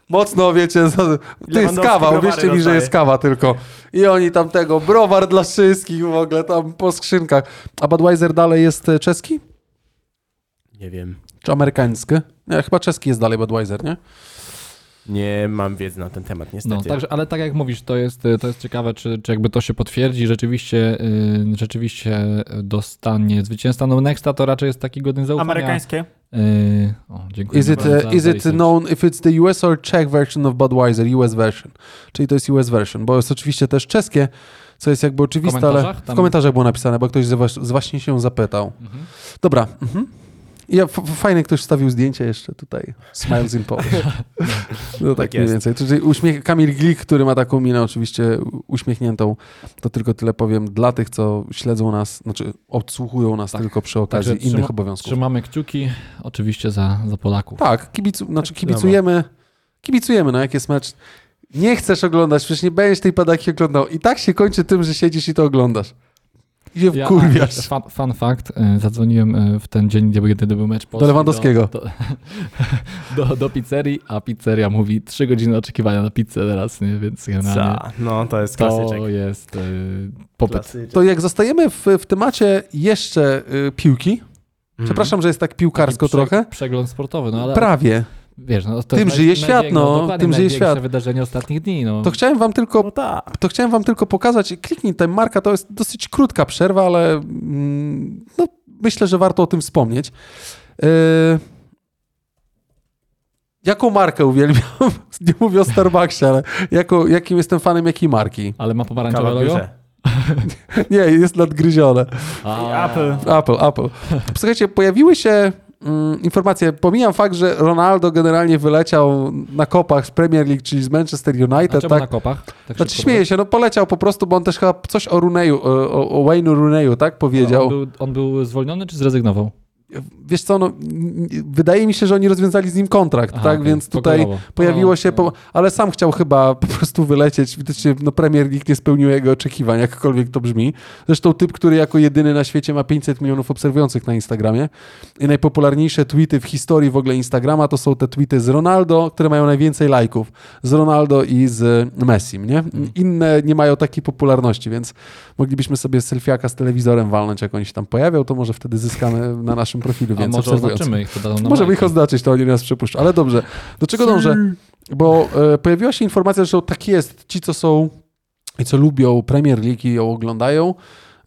A: mocno, wiecie, za- ty jest
E: Lewandowski
A: kawa,
E: browary
A: uwierzcie mi, że
E: rozdaje.
A: jest kawa tylko. I oni tam tego, browar dla wszystkich w ogóle, tam po skrzynkach. A Budweiser dalej jest e, czeski?
E: Nie wiem.
A: Czy amerykańskie? Nie, chyba czeski jest dalej Budweiser, nie?
E: Nie mam wiedzy na ten temat, niestety.
D: No, także, ale tak jak mówisz, to jest, to jest ciekawe, czy, czy jakby to się potwierdzi, rzeczywiście, y, rzeczywiście dostanie zwycięzca. No Nexta to raczej jest taki godny zaufania.
C: Amerykańskie.
D: Y, o, dziękuję.
A: Is it,
D: za-
A: uh,
D: za
A: is it
D: research.
A: known if it's the US or Czech version of Budweiser, US version? Czyli to jest US version, bo jest oczywiście też czeskie, co jest jakby oczywiste, ale
D: komentarzach
A: w
D: tam-
A: komentarzach było napisane, bo ktoś z was, z właśnie się zapytał.
D: Mhm.
A: Dobra. Mhm. Ja, f- f- fajnie ktoś wstawił zdjęcie jeszcze tutaj. Smiles in Polish. No tak
E: Tak
A: mniej
E: jest.
A: więcej. Czyli uśmiech, Kamil Glik, który ma taką minę oczywiście uśmiechniętą, to tylko tyle powiem dla tych, co śledzą nas, znaczy odsłuchują nas tylko przy okazji
D: Także
A: innych
D: trzyma-
A: obowiązków.
D: Trzymamy kciuki, oczywiście za, za Polaków.
A: Tak, kibicu, znaczy kibicujemy, kibicujemy, no jak jest mecz. Nie chcesz oglądać, przecież nie będziesz tej padaki oglądał. I tak się kończy tym, że siedzisz i to oglądasz. I się
D: Ja- [laughs]
A: wkurwiasz.
D: Fun, fun fact, y, zadzwoniłem y, w ten dzień, gdzie był kiedy był mecz Polski
A: Do Lewandowskiego.
D: Do, [laughs] do, do, do pizzerii, a pizzeria mówi 3 godziny oczekiwania na pizzę teraz, nie? więc generalnie
B: Za. No, to jest klasyczek.
D: to jest y, popyt.
B: Klasyczek.
A: To jak zostajemy w, w temacie jeszcze y, piłki,
B: Mhm.
A: przepraszam, że jest tak piłkarsko
D: Taki prze-
A: trochę,
D: Przegląd sportowy, no ale
A: prawie.
D: wiesz, no, to
A: Tym
D: naj-
A: żyje świat,
D: największe-
A: no,
D: dokładnie,
A: tym żyje
D: największe
A: świat.
D: wydarzenie ostatnich dni, no.
A: To chciałem wam tylko
B: No tak.
A: To chciałem wam tylko pokazać, kliknij ten Marka, to jest dosyć krótka przerwa, ale mm, no, myślę, że warto o tym wspomnieć. Yy, jaką markę uwielbiam? [laughs] Nie mówię o Starbucksie, ale jako, jakim jestem fanem jakiej marki?
D: Ale ma pomarańczowe
B: Kawa w
D: logo?
B: biurze.
A: Nie, jest nadgryzione.
D: A,
C: Apple.
A: Apple, Apple. Słuchajcie, pojawiły się mm, informacje, pomijam fakt, że Ronaldo generalnie wyleciał na kopach z Premier League, czyli z Manchester
D: a
A: United.
D: czemu
A: tak?
D: na kopach? Tak
A: Znaczy
D: szybko
A: śmieje się, no poleciał po prostu, bo on też chyba coś o Runeju, o, o Wayne'u Runeju, tak?
D: No, On
A: Powiedział.
D: był, on był zwolniony czy zrezygnował?
A: Wiesz co, no, n- n- wydaje mi się, że oni rozwiązali z nim kontrakt,
D: Aha,
A: tak?
D: okej,
A: Więc tutaj
D: pokojowo.
A: pojawiło
D: No,
A: się,
D: no.
A: po, ale sam chciał chyba po prostu wylecieć. Widocznie no, Premier League nie spełnił jego oczekiwań, jakkolwiek to brzmi. Zresztą typ, który jako jedyny na świecie ma 500 milionów obserwujących na Instagramie. I najpopularniejsze tweety w historii w ogóle Instagrama to są te tweety z Ronaldo, które mają najwięcej lajków. Z Ronaldo i z Messim, nie? Inne nie mają takiej popularności, więc moglibyśmy sobie selfiaka z telewizorem walnąć, jak oni się tam pojawią, to może wtedy zyskamy na naszym profilu
D: A
A: więcej
D: może
A: obserwujących.
D: oznaczymy ich, to dadzą nam
A: Możemy ich
D: lajki.
A: oznaczyć, to oni nas przepuszczą. Ale dobrze, do czego dążę? Bo e, pojawiła się informacja, że tak jest. Ci, co są i co lubią Premier League i ją oglądają,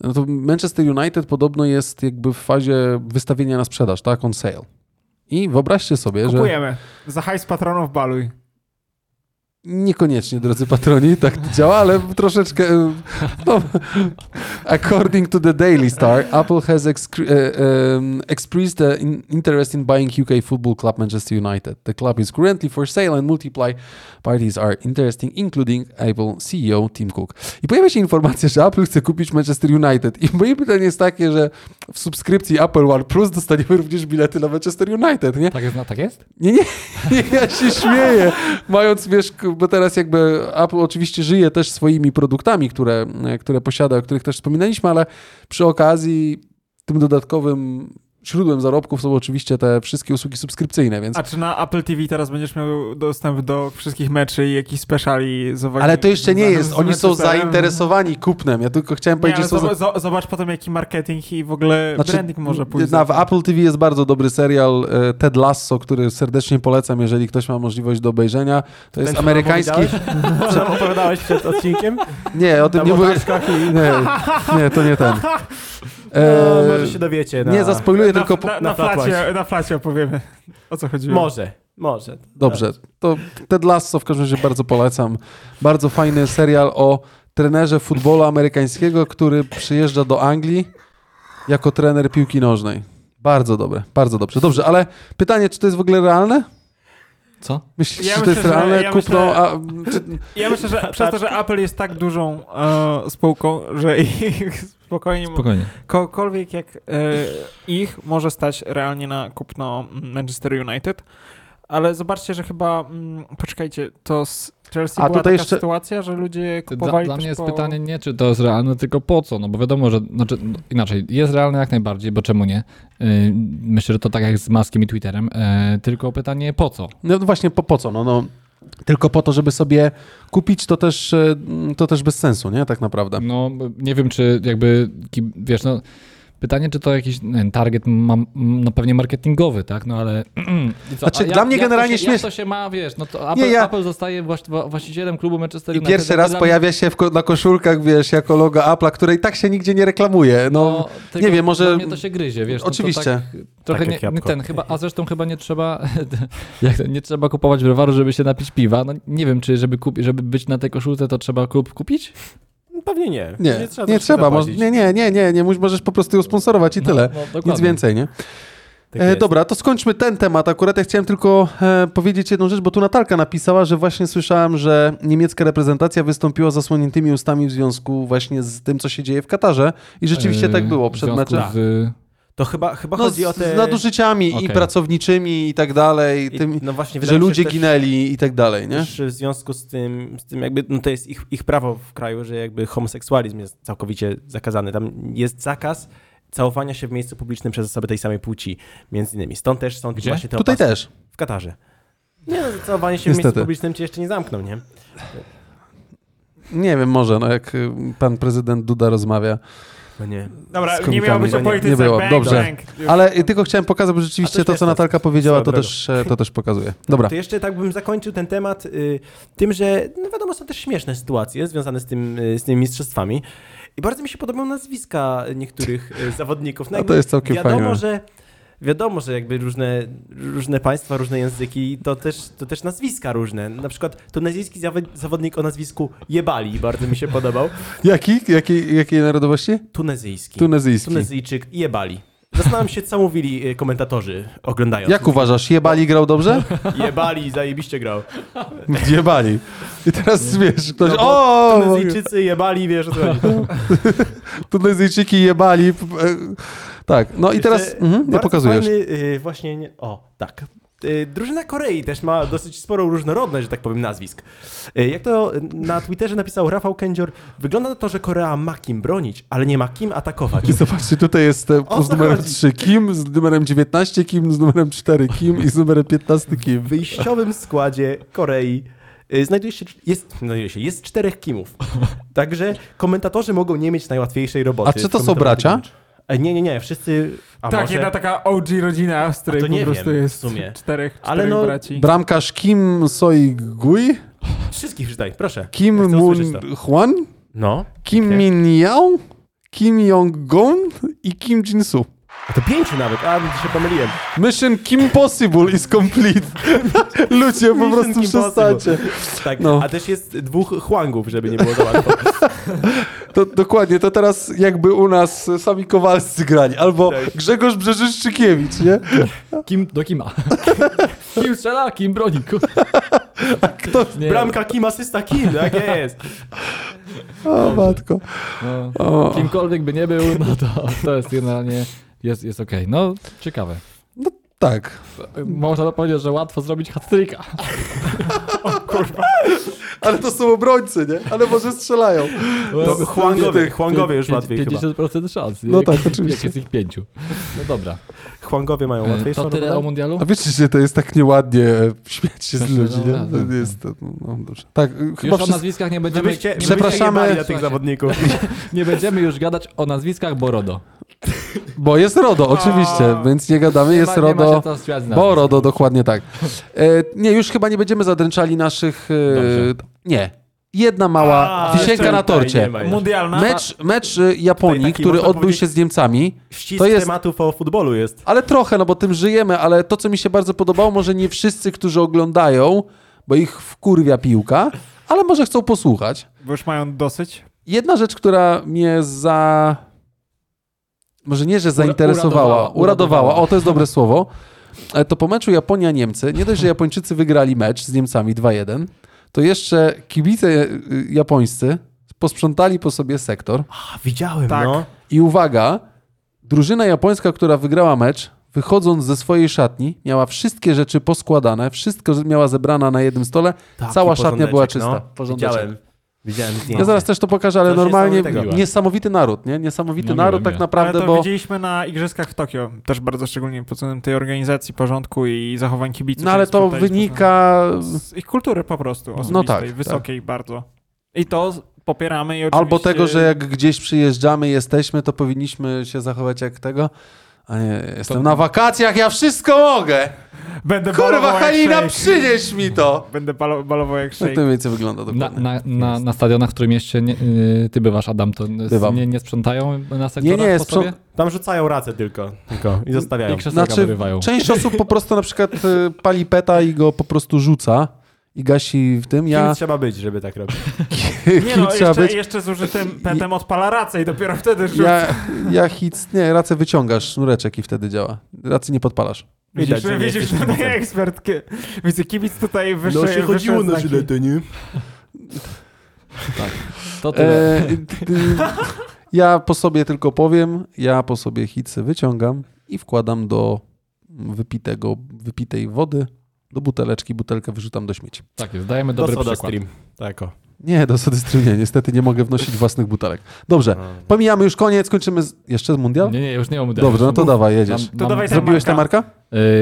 A: no to Manchester United podobno jest jakby w fazie wystawienia na sprzedaż, tak? On sale. I wyobraźcie sobie, że
C: Kupujemy. Za hajs patronów baluj.
A: niekoniecznie, drodzy patroni, tak to działa, ale troszeczkę... e, No, according to the Daily Star, Apple has excre- e, em, expressed the in- interest in buying UK football club Manchester United. The club is currently for sale and multiply parties are interesting, including Apple CEO Tim Cook. I pojawia się informacja, że Apple chce kupić Manchester United. I moje pytanie jest takie, że w subskrypcji Apple One Plus dostaniemy również bilety na Manchester United, nie?
D: Tak jest? No, tak jest?
A: Nie, nie, nie, ja się śmieję. Mając, wiesz, k- bo teraz jakby Apple oczywiście żyje też swoimi produktami, które, e, które posiada, o których też wspominaliśmy, ale przy okazji tym dodatkowym źródłem zarobków są oczywiście te wszystkie usługi subskrypcyjne, więc...
C: A czy Znaczy, na Apple TV teraz będziesz miał dostęp do wszystkich meczy i jakichś speciali z uwagi-
A: Ale to jeszcze nie
C: z-
A: jest.
C: z
A: Oni są
C: Manchesterem?
A: zainteresowani kupnem. Ja tylko chciałem
C: Nie,
A: powiedzieć, że
C: ale
A: są za- znaczy,
C: zobacz, zo- zobacz potem jaki marketing i w ogóle branding może pójść.
A: Na,
C: za
A: w
C: tym.
A: Apple TV jest bardzo dobry serial e, Ted Lasso, który serdecznie polecam, jeżeli ktoś ma możliwość do obejrzenia. To jest
B: Ten,
A: amerykański.
B: Co nam opowiadałeś? [laughs] Co nam opowiadałeś przed odcinkiem?
A: Nie, o tym
B: Na
A: nie mówię.
B: motorkach
A: Nie, nie, to nie [laughs] ten.
B: No,
A: [laughs] E,
B: może się dowiecie. Na...
A: nie zaspoiluję,
C: na,
A: tylko. Po...
C: na, na,
B: na
C: flacie,
B: flacie.
C: na flacie opowiemy, o co chodziło.
B: Może, może.
A: Dobrze. To Ted Lasso w każdym razie bardzo polecam. Bardzo fajny serial o trenerze futbolu amerykańskiego, który przyjeżdża do Anglii jako trener piłki nożnej. Bardzo dobre, bardzo dobrze. Dobrze, ale pytanie, czy to jest w ogóle realne?
D: Co?
A: Myślisz,
C: Ja
A: że to jest
C: myślę, że-
A: realne?
C: ja
A: Kupno, a,
C: myślę-
A: czy,
C: Ja
A: [laughs]
C: myślę, że przez to, że Apple jest tak dużą e, spółką, że ich [laughs] spokojnie,
D: Spokojnie.
C: kogokolwiek jak e, ich może stać realnie na kupno Manchester United. Ale zobaczcie, że chyba, mm, poczekajcie, to z Chelsea
A: A
C: była taka
A: tutaj jeszcze-
C: sytuacja, że ludzie
D: Dla,
C: kupowali
D: dla
C: też
D: mnie jest
C: po...
D: pytanie nie, czy to jest realne, tylko po co, no bo wiadomo, że, znaczy, no, inaczej, jest realne jak najbardziej, bo czemu nie? Yy, myślę, że to tak jak z Maskiem i Twitterem, yy, tylko pytanie po co?
A: No właśnie, po, po co? No, no, tylko po to, żeby sobie kupić, to też, e, to też bez sensu, nie? Tak naprawdę.
D: No, nie wiem, czy jakby, ki- wiesz, no, pytanie, czy to jakiś nie wiem, target, mam, no pewnie marketingowy, tak, no ale... [clears throat] I co?
A: Znaczy,
D: A
A: dla mnie generalnie
D: jak to się, Jak
A: śmiesz-
D: to się ma, wiesz, no to Apple,
A: Nie, ja-
D: Apple zostaje właś- wa- właścicielem klubu Manchester
A: I
D: United.
A: pierwszy
D: jakby
A: raz
D: dla mnie-
A: pojawia się w, ko- na koszulkach, wiesz, jako logo Apple'a, której tak się nigdzie nie reklamuje. No,
D: No, tylko
A: nie wiem, może...
D: Dla mnie to się gryzie, wiesz. no
A: Oczywiście.
D: To tak, trochę
B: Tak
D: nie,
B: jak jabłko.
D: ten chyba, a zresztą chyba nie trzeba, [laughs] jak to, nie trzeba kupować browaru, żeby się napić piwa. No nie wiem, czy żeby, kupi, żeby być na tej koszulce, to trzeba klub kupić?
B: Pewnie nie.
A: Nie, nie trzeba, nie, może, nie, nie, nie, nie, nie, mus- możesz po prostu ją sponsorować i tyle.
D: No, dokładnie.
A: Nic więcej, nie?
B: Tak
A: e,
B: jest.
A: dobra, to skończmy ten temat. Akurat ja chciałem tylko e, powiedzieć jedną rzecz, bo tu Natalka napisała, że właśnie słyszałem, że niemiecka reprezentacja wystąpiła z zasłoniętymi ustami w związku właśnie z tym, co się dzieje w Katarze. I rzeczywiście
D: Yy,
A: tak było
D: w
A: przed
D: związku
A: meczem.
D: Z, y,
B: To chyba, chyba
A: No,
B: chodzi o
A: z,
B: te...
A: z nadużyciami i
D: Okej.
A: pracowniczymi i tak dalej,
B: i-
A: tym,
B: no
A: że
B: właśnie, wydaje mi się,
A: ludzie
B: też-
A: ginęli i tak dalej, nie?
B: Też w związku z tym, z tym jakby, no to jest ich, ich prawo w kraju, że jakby homoseksualizm jest całkowicie zakazany. Tam jest zakaz całowania się w miejscu publicznym przez osoby tej samej płci, między innymi. Stąd też są
D: Gdzie?
B: właśnie te
A: Tutaj
B: opaski.
A: też.
B: W Katarze. Nie, no, całowanie się w
A: Niestety.
B: miejscu publicznym cię jeszcze nie zamkną, nie?
A: Nie wiem, może, no jak y, pan prezydent Duda rozmawia.
B: No nie.
C: Dobra,
A: Z
C: nie miało być o
A: komikami.
C: polityce.
A: Nie było,
C: bang,
A: dobrze.
C: Bang.
A: Ale y, tylko chciałem pokazać, bo
B: A
A: rzeczywiście
B: też
A: to, co
B: jestem.
A: Natalka powiedziała, to
B: Dobra.
A: też, e, to też pokazuje. Dobra.
B: To jeszcze tak bym zakończył ten temat y, tym, że no wiadomo, są też śmieszne sytuacje związane z, tym, y, z tymi mistrzostwami. I bardzo mi się podobają nazwiska niektórych
A: [laughs]
B: y, zawodników.
A: A
B: jakby
A: No to jest całkiem
B: wiadomo,
A: fajne.
B: że Wiadomo, że jakby różne, różne państwa, różne języki, to też, to też nazwiska różne. Na przykład to nazwiski zawo- zawodnik o nazwisku Jebali bardzo mi się podobał.
A: Jaki? Jakiej, jakiej narodowości?
B: Tunezyjski.
A: Tunezyjski.
B: Tunezyjczyk Jebali. Zastanawiam się, co mówili y, komentatorzy oglądając.
A: Jak uważasz, jebali grał dobrze? [laughs]
B: Jebali, zajebiście grał.
A: Jebali. I teraz wiesz, ktoś,
B: No bo
A: o,
B: Tunezyjczycy jebali, wiesz o co chodzi.
A: [laughs] Tunezyjczyki jebali. p- e, Tak, no i teraz,
B: Jeszcze
A: mhm, nie
B: bardzo
A: pokazujesz.
B: Fajny, y, właśnie, nie, o, tak. Y, Drużyna Korei też ma dosyć sporą różnorodność, że tak powiem, nazwisk. Y, Jak to na Twitterze napisał Rafał Kędzior, wygląda na to, że Korea ma kim bronić, ale nie ma kim
A: [laughs]
B: atakować.
A: I zobaczcie, tutaj jest e,
B: O
A: z
B: co
A: numerem
B: chodzi?
A: 3 Kim, z numerem 19 Kim, z numerem 4 Kim i z numerem 15 Kim.
B: W wyjściowym składzie Korei y, znajduje się, jest, znajduje się, jest czterech Kimów. Także komentatorzy mogą nie mieć najłatwiejszej roboty.
A: A czy to
B: w
A: są
B: komentowaniu
A: bracia?
B: tego meczu. E, Nie, nie, nie, wszyscy... A
C: tak,
B: może...
C: jedna taka OG rodzina, z której
B: A to nie
C: po prostu
B: wiem,
C: jest
B: w sumie.
C: czterech,
B: Ale
C: czterech
B: no-
C: braci.
A: Bramkarz Kim Soi Gui,
B: Wszystkich czytaj, proszę.
A: Kim
B: Ja chcę
A: Moon
B: usłyszeć
A: Hwan,
B: No.
A: Kim
B: Pięknie.
A: Min Yao, Kim Jong Gon i Kim Jin Soo.
B: A to pięciu nawet, a się pomyliłem.
A: Mission Kim Possible is complete. [laughs] Ludzie, po
B: Mission
A: prostu
B: Kim
A: przestańcie.
B: Tak,
A: No.
B: a też jest dwóch chłangów, żeby nie było za łatwo.
A: To, dokładnie, to teraz jakby u nas sami Kowalscy grali, albo Grzegorz Brzeżyszczykiewicz, nie? Tak.
D: Kim do Kima. [laughs] kim strzela, kim broni. ku-
A: [laughs] Kto?
D: Nie,
B: Bramka kim, asysta kim, tak jest.
A: O matko.
D: no,
A: O.
D: kimkolwiek by nie był, no to, to jest generalnie, jest, jest okej. No, ciekawe.
A: Tak.
D: Można powiedzieć, że łatwo zrobić hat-tricka.
A: Ale to są obrońcy, nie? Ale może strzelają.
B: To
A: No,
B: chłangowie,
A: tych-
B: chłangowie już
D: Pięć-
B: łatwiej chyba.
D: 50% szans. nie?
A: No tak,
D: Jak-
A: oczywiście.
D: Jak jest ich pięciu. No dobra.
B: Chłangowie mają łatwiejszą
D: Hmm, To tyle o
B: robotę.
D: mundialu?
A: A wiecie, że to jest tak nieładnie e, śmiać się z
D: No,
A: ludzi,
D: no,
A: nie?
D: no,
A: To
D: no.
A: jest, no dobrze. Tak, e, chyba
D: Już o
A: wszyscy...
D: nazwiskach nie będziemy,
B: Żebyście, żebyście
A: Przepraszamy.
B: nie bali na tych
A: [laughs]
B: zawodników.
D: nie będziemy już gadać o nazwiskach, bo RODO.
A: Bo jest RODO, oczywiście, więc nie gadamy, jest
D: nie ma, Nie ma
A: RODO.
D: się co strzelać z
A: Bo
D: nazwisk.
A: RODO, dokładnie tak. E, nie, już chyba nie będziemy zadręczali naszych... e,
D: Dobrze.
A: nie. Jedna mała
B: A,
A: wisienka na
B: tutaj
A: torcie.
B: nie ma jeszcze.
C: Mundialna.
A: Mecz, mecz y, Japonii,
B: Tutaj taki,
A: który
B: można
A: odbył
B: powiedzieć-
A: się z Niemcami,
B: Ścisk
A: To jest-
B: tematów o futbolu jest.
A: ale trochę, no bo tym żyjemy, ale to, co mi się bardzo podobało, może nie wszyscy, którzy oglądają, bo ich wkurwia piłka, ale może chcą posłuchać.
C: Bo już mają dosyć.
A: Jedna rzecz, która mnie za... Może nie, że zainteresowała,
D: uradowała,
A: uradowała, o to jest dobre słowo, E, to po meczu Japonia-Niemcy, nie dość, że Japończycy wygrali mecz z Niemcami 2-1, to jeszcze kibice y, japońscy posprzątali po sobie sektor
B: A, widziałem,
C: Tak.
B: no.
A: I uwaga, drużyna japońska, która wygrała mecz, wychodząc ze swojej szatni, miała wszystkie rzeczy poskładane, wszystko miała zebrana na jednym stole,
B: Taki
A: cała szatnia
B: porządeczek,
A: była czysta.
B: No. Widziałem. Widziałem zdjęcie.
A: Ja zaraz też to pokażę, ale
B: Coś
A: normalnie
B: niesamowitego.
A: niesamowity naród, nie? Niesamowity
D: No, miłe,
A: naród tak
D: miłe.
A: naprawdę,
C: Ale to
A: bo
C: widzieliśmy na igrzyskach w Tokio. Też bardzo szczególnie pod względem tej organizacji, porządku i zachowań kibiców.
A: no ale
C: więc
A: to
C: tutaj
A: wynika
C: Z ich kultury po prostu osobistej,
A: tak,
C: wysokiej bardzo. I to z- popieramy i oczywiście...
A: albo tego, że jak gdzieś przyjeżdżamy, jesteśmy, to powinniśmy się zachować jak tego. A nie, jestem na wakacjach, ja wszystko mogę!
C: Będę
A: Kurwa,
C: balował jak
A: Halina,
C: szejk.
A: przynieś mi to!
C: Będę balo- balował jak
A: Tak
C: szejk.
A: to mniej więcej wygląda
D: Na,
A: dokładnie.
D: na, na, na stadionach, w którym mieście nie, y, ty bywasz, Adam, to z-
A: Bywam.
D: nie, nie sprzątają na
A: Nie,
D: sektorach
A: nie,
D: po
A: sprząt-
D: sobie?
B: Tam rzucają racę tylko. tylko. I zostawiają.
D: I krzesełka
A: Znaczy,
D: wyrywają.
A: Część osób po prostu na przykład y, pali peta i go po prostu rzuca i gasi w tym. Ja
B: Kim trzeba być, żeby tak robić?
A: [laughs] kim
C: Nie no,
A: trzeba
C: jeszcze,
A: być.
C: jeszcze zużytym petem odpala racę i dopiero wtedy rzuca.
A: Ja, ja hit, nie, racę wyciągasz, sznureczek i wtedy działa. Racy nie podpalasz.
B: Widać,
C: Widzisz,
B: że nie
C: widzisz,
B: jesteś
C: że nie
B: kibicem.
C: ekspert. ki- Widzę, kibic
A: No,
C: tutaj wyższy.
B: No,
C: wyższe znaki.
B: nie?
D: To tyle.
A: E, y, y, E, Ja po sobie tylko powiem, ja po sobie hitsy wyciągam i wkładam do wypitego, wypitej wody, do buteleczki, butelkę wyrzucam do śmieci.
D: Tak jest, dajemy
B: To
D: dobry
B: soda
D: przykład.
B: stream. Tak o.
A: Nie, do Sody Stream nie, niestety nie mogę wnosić własnych butelek. Dobrze, pomijamy już koniec, kończymy z... jeszcze mundial?
D: Nie, nie, już nie mam idealnych.
A: Dobrze, no to
D: Mów.
A: dawaj, jedziesz.
D: Mam-
C: To
D: mam-
C: dawaj tam
A: Zrobiłeś tę
C: marka.
A: markę?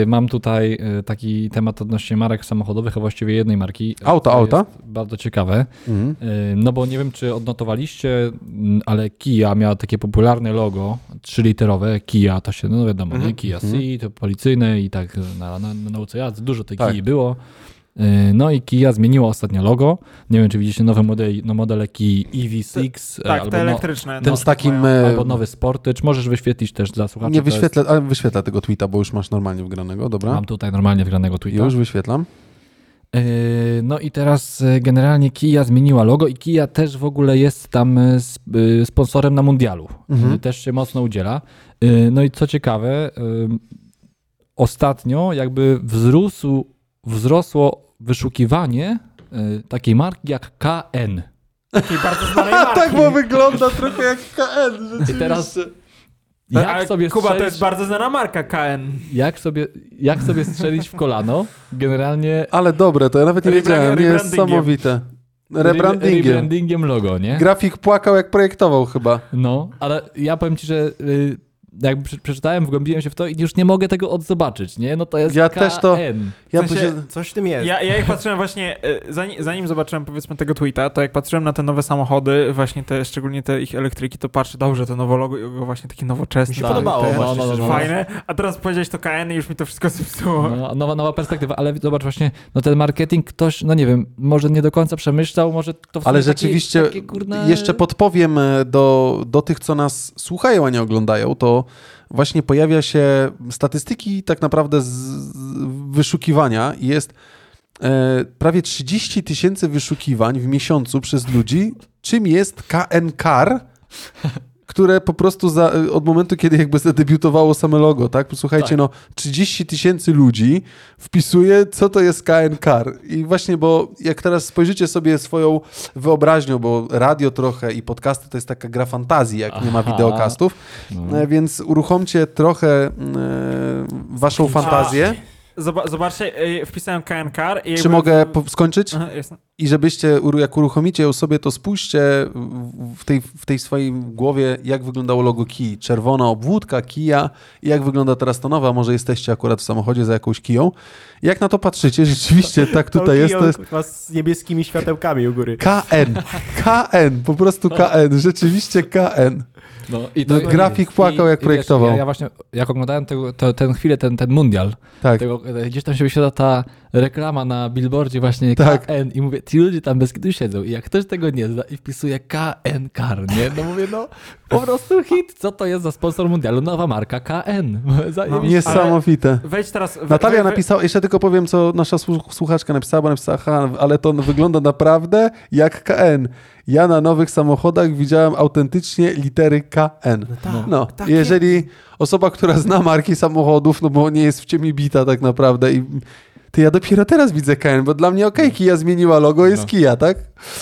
D: Y, Mam tutaj y, taki temat odnośnie marek samochodowych, a właściwie jednej marki.
A: Auta,
D: To
A: auta?
D: jest Bardzo ciekawe.
A: Mhm.
D: Y, No bo nie wiem, czy odnotowaliście, mm, ale Kia miała takie popularne logo, trzyliterowe. Kia to się, no wiadomo, nie? Kia Ceed, to policyjne i tak na, na, na nauce jazdy. Dużo tej
A: Tak.
D: Kii było. Y, No i Kia zmieniła ostatnio logo. Nie wiem, czy widzieliście nowe modele, no modele Kii EV6 e,
C: Tak,
D: albo,
C: te
D: no,
C: elektryczne.
A: Ten
C: no,
A: z takim...
C: mają-
A: e,
D: albo nowy Sportage. Możesz wyświetlić też dla słuchaczy.
A: Nie
D: to jest-
A: wyświetla, ale wyświetla tego tweeta, bo już masz normalnie wgranego, dobra?
D: Mam tutaj normalnie wgranego tweeta.
A: Już wyświetlam.
D: Yy, No i teraz y, generalnie Kia zmieniła logo i Kia też w ogóle jest tam y, sp- y, sponsorem na mundialu.
A: Mhm.
D: Y, Też się mocno udziela. Y, No i co ciekawe, ym, ostatnio jakby wzrósł, wzrosło wyszukiwanie y, takiej marki jak KN.
C: takiej bardzo
A: [laughs]
C: znanej
A: Tak,
C: marki.
A: wygląda trochę jak KN.
D: I teraz
C: Ale
D: jak sobie,
C: Kuba to
D: strzelić,
C: jest bardzo znana marka KN.
D: jak, sobie, jak sobie strzelić w kolano? Generalnie
A: Ale dobre, to ja nawet nie
C: Rebra-
A: wiedziałem,
C: rebrandingiem.
A: niesamowite. Rebrandingiem.
D: rebrandingiem logo, nie?
A: Grafik płakał jak projektował chyba.
D: No, ale ja powiem ci, że y, jakby prze- przeczytałem, wgłębiłem się w to i już nie mogę tego odzobaczyć, nie? No to jest
A: Ja
D: KN.
A: też to- Ja
C: W
A: bym
C: sensie-
A: się...
B: Coś w tym jest.
C: Ja, ja jak patrzyłem właśnie, e, zanim, zanim zobaczyłem powiedzmy tego tweeta, to jak patrzyłem na te nowe samochody, właśnie te, szczególnie te ich elektryki, to patrzę, dobrze, to nowe logo, logo właśnie takie nowoczesne.
B: Mi się
C: takie
B: podobało
C: te-
B: właśnie,
D: No, no, no, no.
C: Fajne, a teraz powiedziałeś to KN i już mi to wszystko zepsuło.
D: No, nowa, nowa perspektywa, ale zobacz właśnie, no ten marketing ktoś, no nie wiem, może nie do końca przemyślał, może to w sumie
A: Ale
D: takie-
A: rzeczywiście,
D: takie, kurne-
A: jeszcze podpowiem e, do, do tych, co nas słuchają, a nie oglądają, to właśnie pojawia się statystyki tak naprawdę z z wyszukiwania i jest e, prawie 30 tysięcy wyszukiwań w miesiącu przez ludzi, czym jest KNKR, które po prostu za, e, od momentu, kiedy jakby zadebiutowało same logo, tak? Posłuchajcie, no 30 tysięcy ludzi wpisuje, co to jest KNKR. I właśnie, bo jak teraz spojrzycie sobie swoją wyobraźnią, bo radio trochę i podcasty to jest taka gra fantazji, jak nie ma
D: Aha.
A: wideokastów,
D: No.
A: e, więc uruchomcie trochę e, waszą fantazję.
C: Zoba- zobaczcie, e, wpisałem KN Car i...
A: Czy
C: jakby-
A: mogę po- skończyć?
C: Aha, jasne.
A: I żebyście, uru- jak uruchomicie ją sobie, to spójrzcie w- w tej, w tej swojej głowie, jak wyglądało logo Kii. Czerwona obwódka, kija i jak wygląda teraz ta nowa. Może jesteście akurat w samochodzie za jakąś kiją. Jak na to patrzycie, [laughs] rzeczywiście tak tutaj jest. To jest
B: kurwa, z niebieskimi światełkami
A: [laughs]
B: u góry.
A: KN. KN, po prostu KN. Rzeczywiście KN.
D: No, i
A: No, grafik płakał, jak
D: wiesz,
A: projektował.
D: Ja, ja właśnie, jak oglądałem tego, to, ten chwilę, ten, ten mundial,
A: Tak.
D: tego, e, gdzieś tam się wyświetla ta reklama na billboardzie właśnie
A: Tak.
D: KN i mówię, ci ludzie tam bez kitu siedzą i jak ktoś tego nie zna i wpisuje KN Car, nie? No mówię,
A: [laughs]
D: no po prostu hit, co to jest za sponsor mundialu? Nowa marka KN. [laughs] Zajebiście.
A: No, Niesamowite.
C: Wejdź teraz... we-
A: Natalia
C: we-
A: napisała, jeszcze tylko powiem, co nasza słu- słuchaczka napisała, bo napisała, ha, ale to wygląda naprawdę jak KN. Ja na nowych samochodach widziałem autentycznie litery KN.
C: tak,
A: No, jeżeli osoba, która zna marki samochodów, no bo nie jest w ciemni bita tak naprawdę i ty ja dopiero teraz widzę KN, bo dla mnie okej,
C: No.
A: Kia zmieniła logo, jest
D: No.
A: Kia, tak?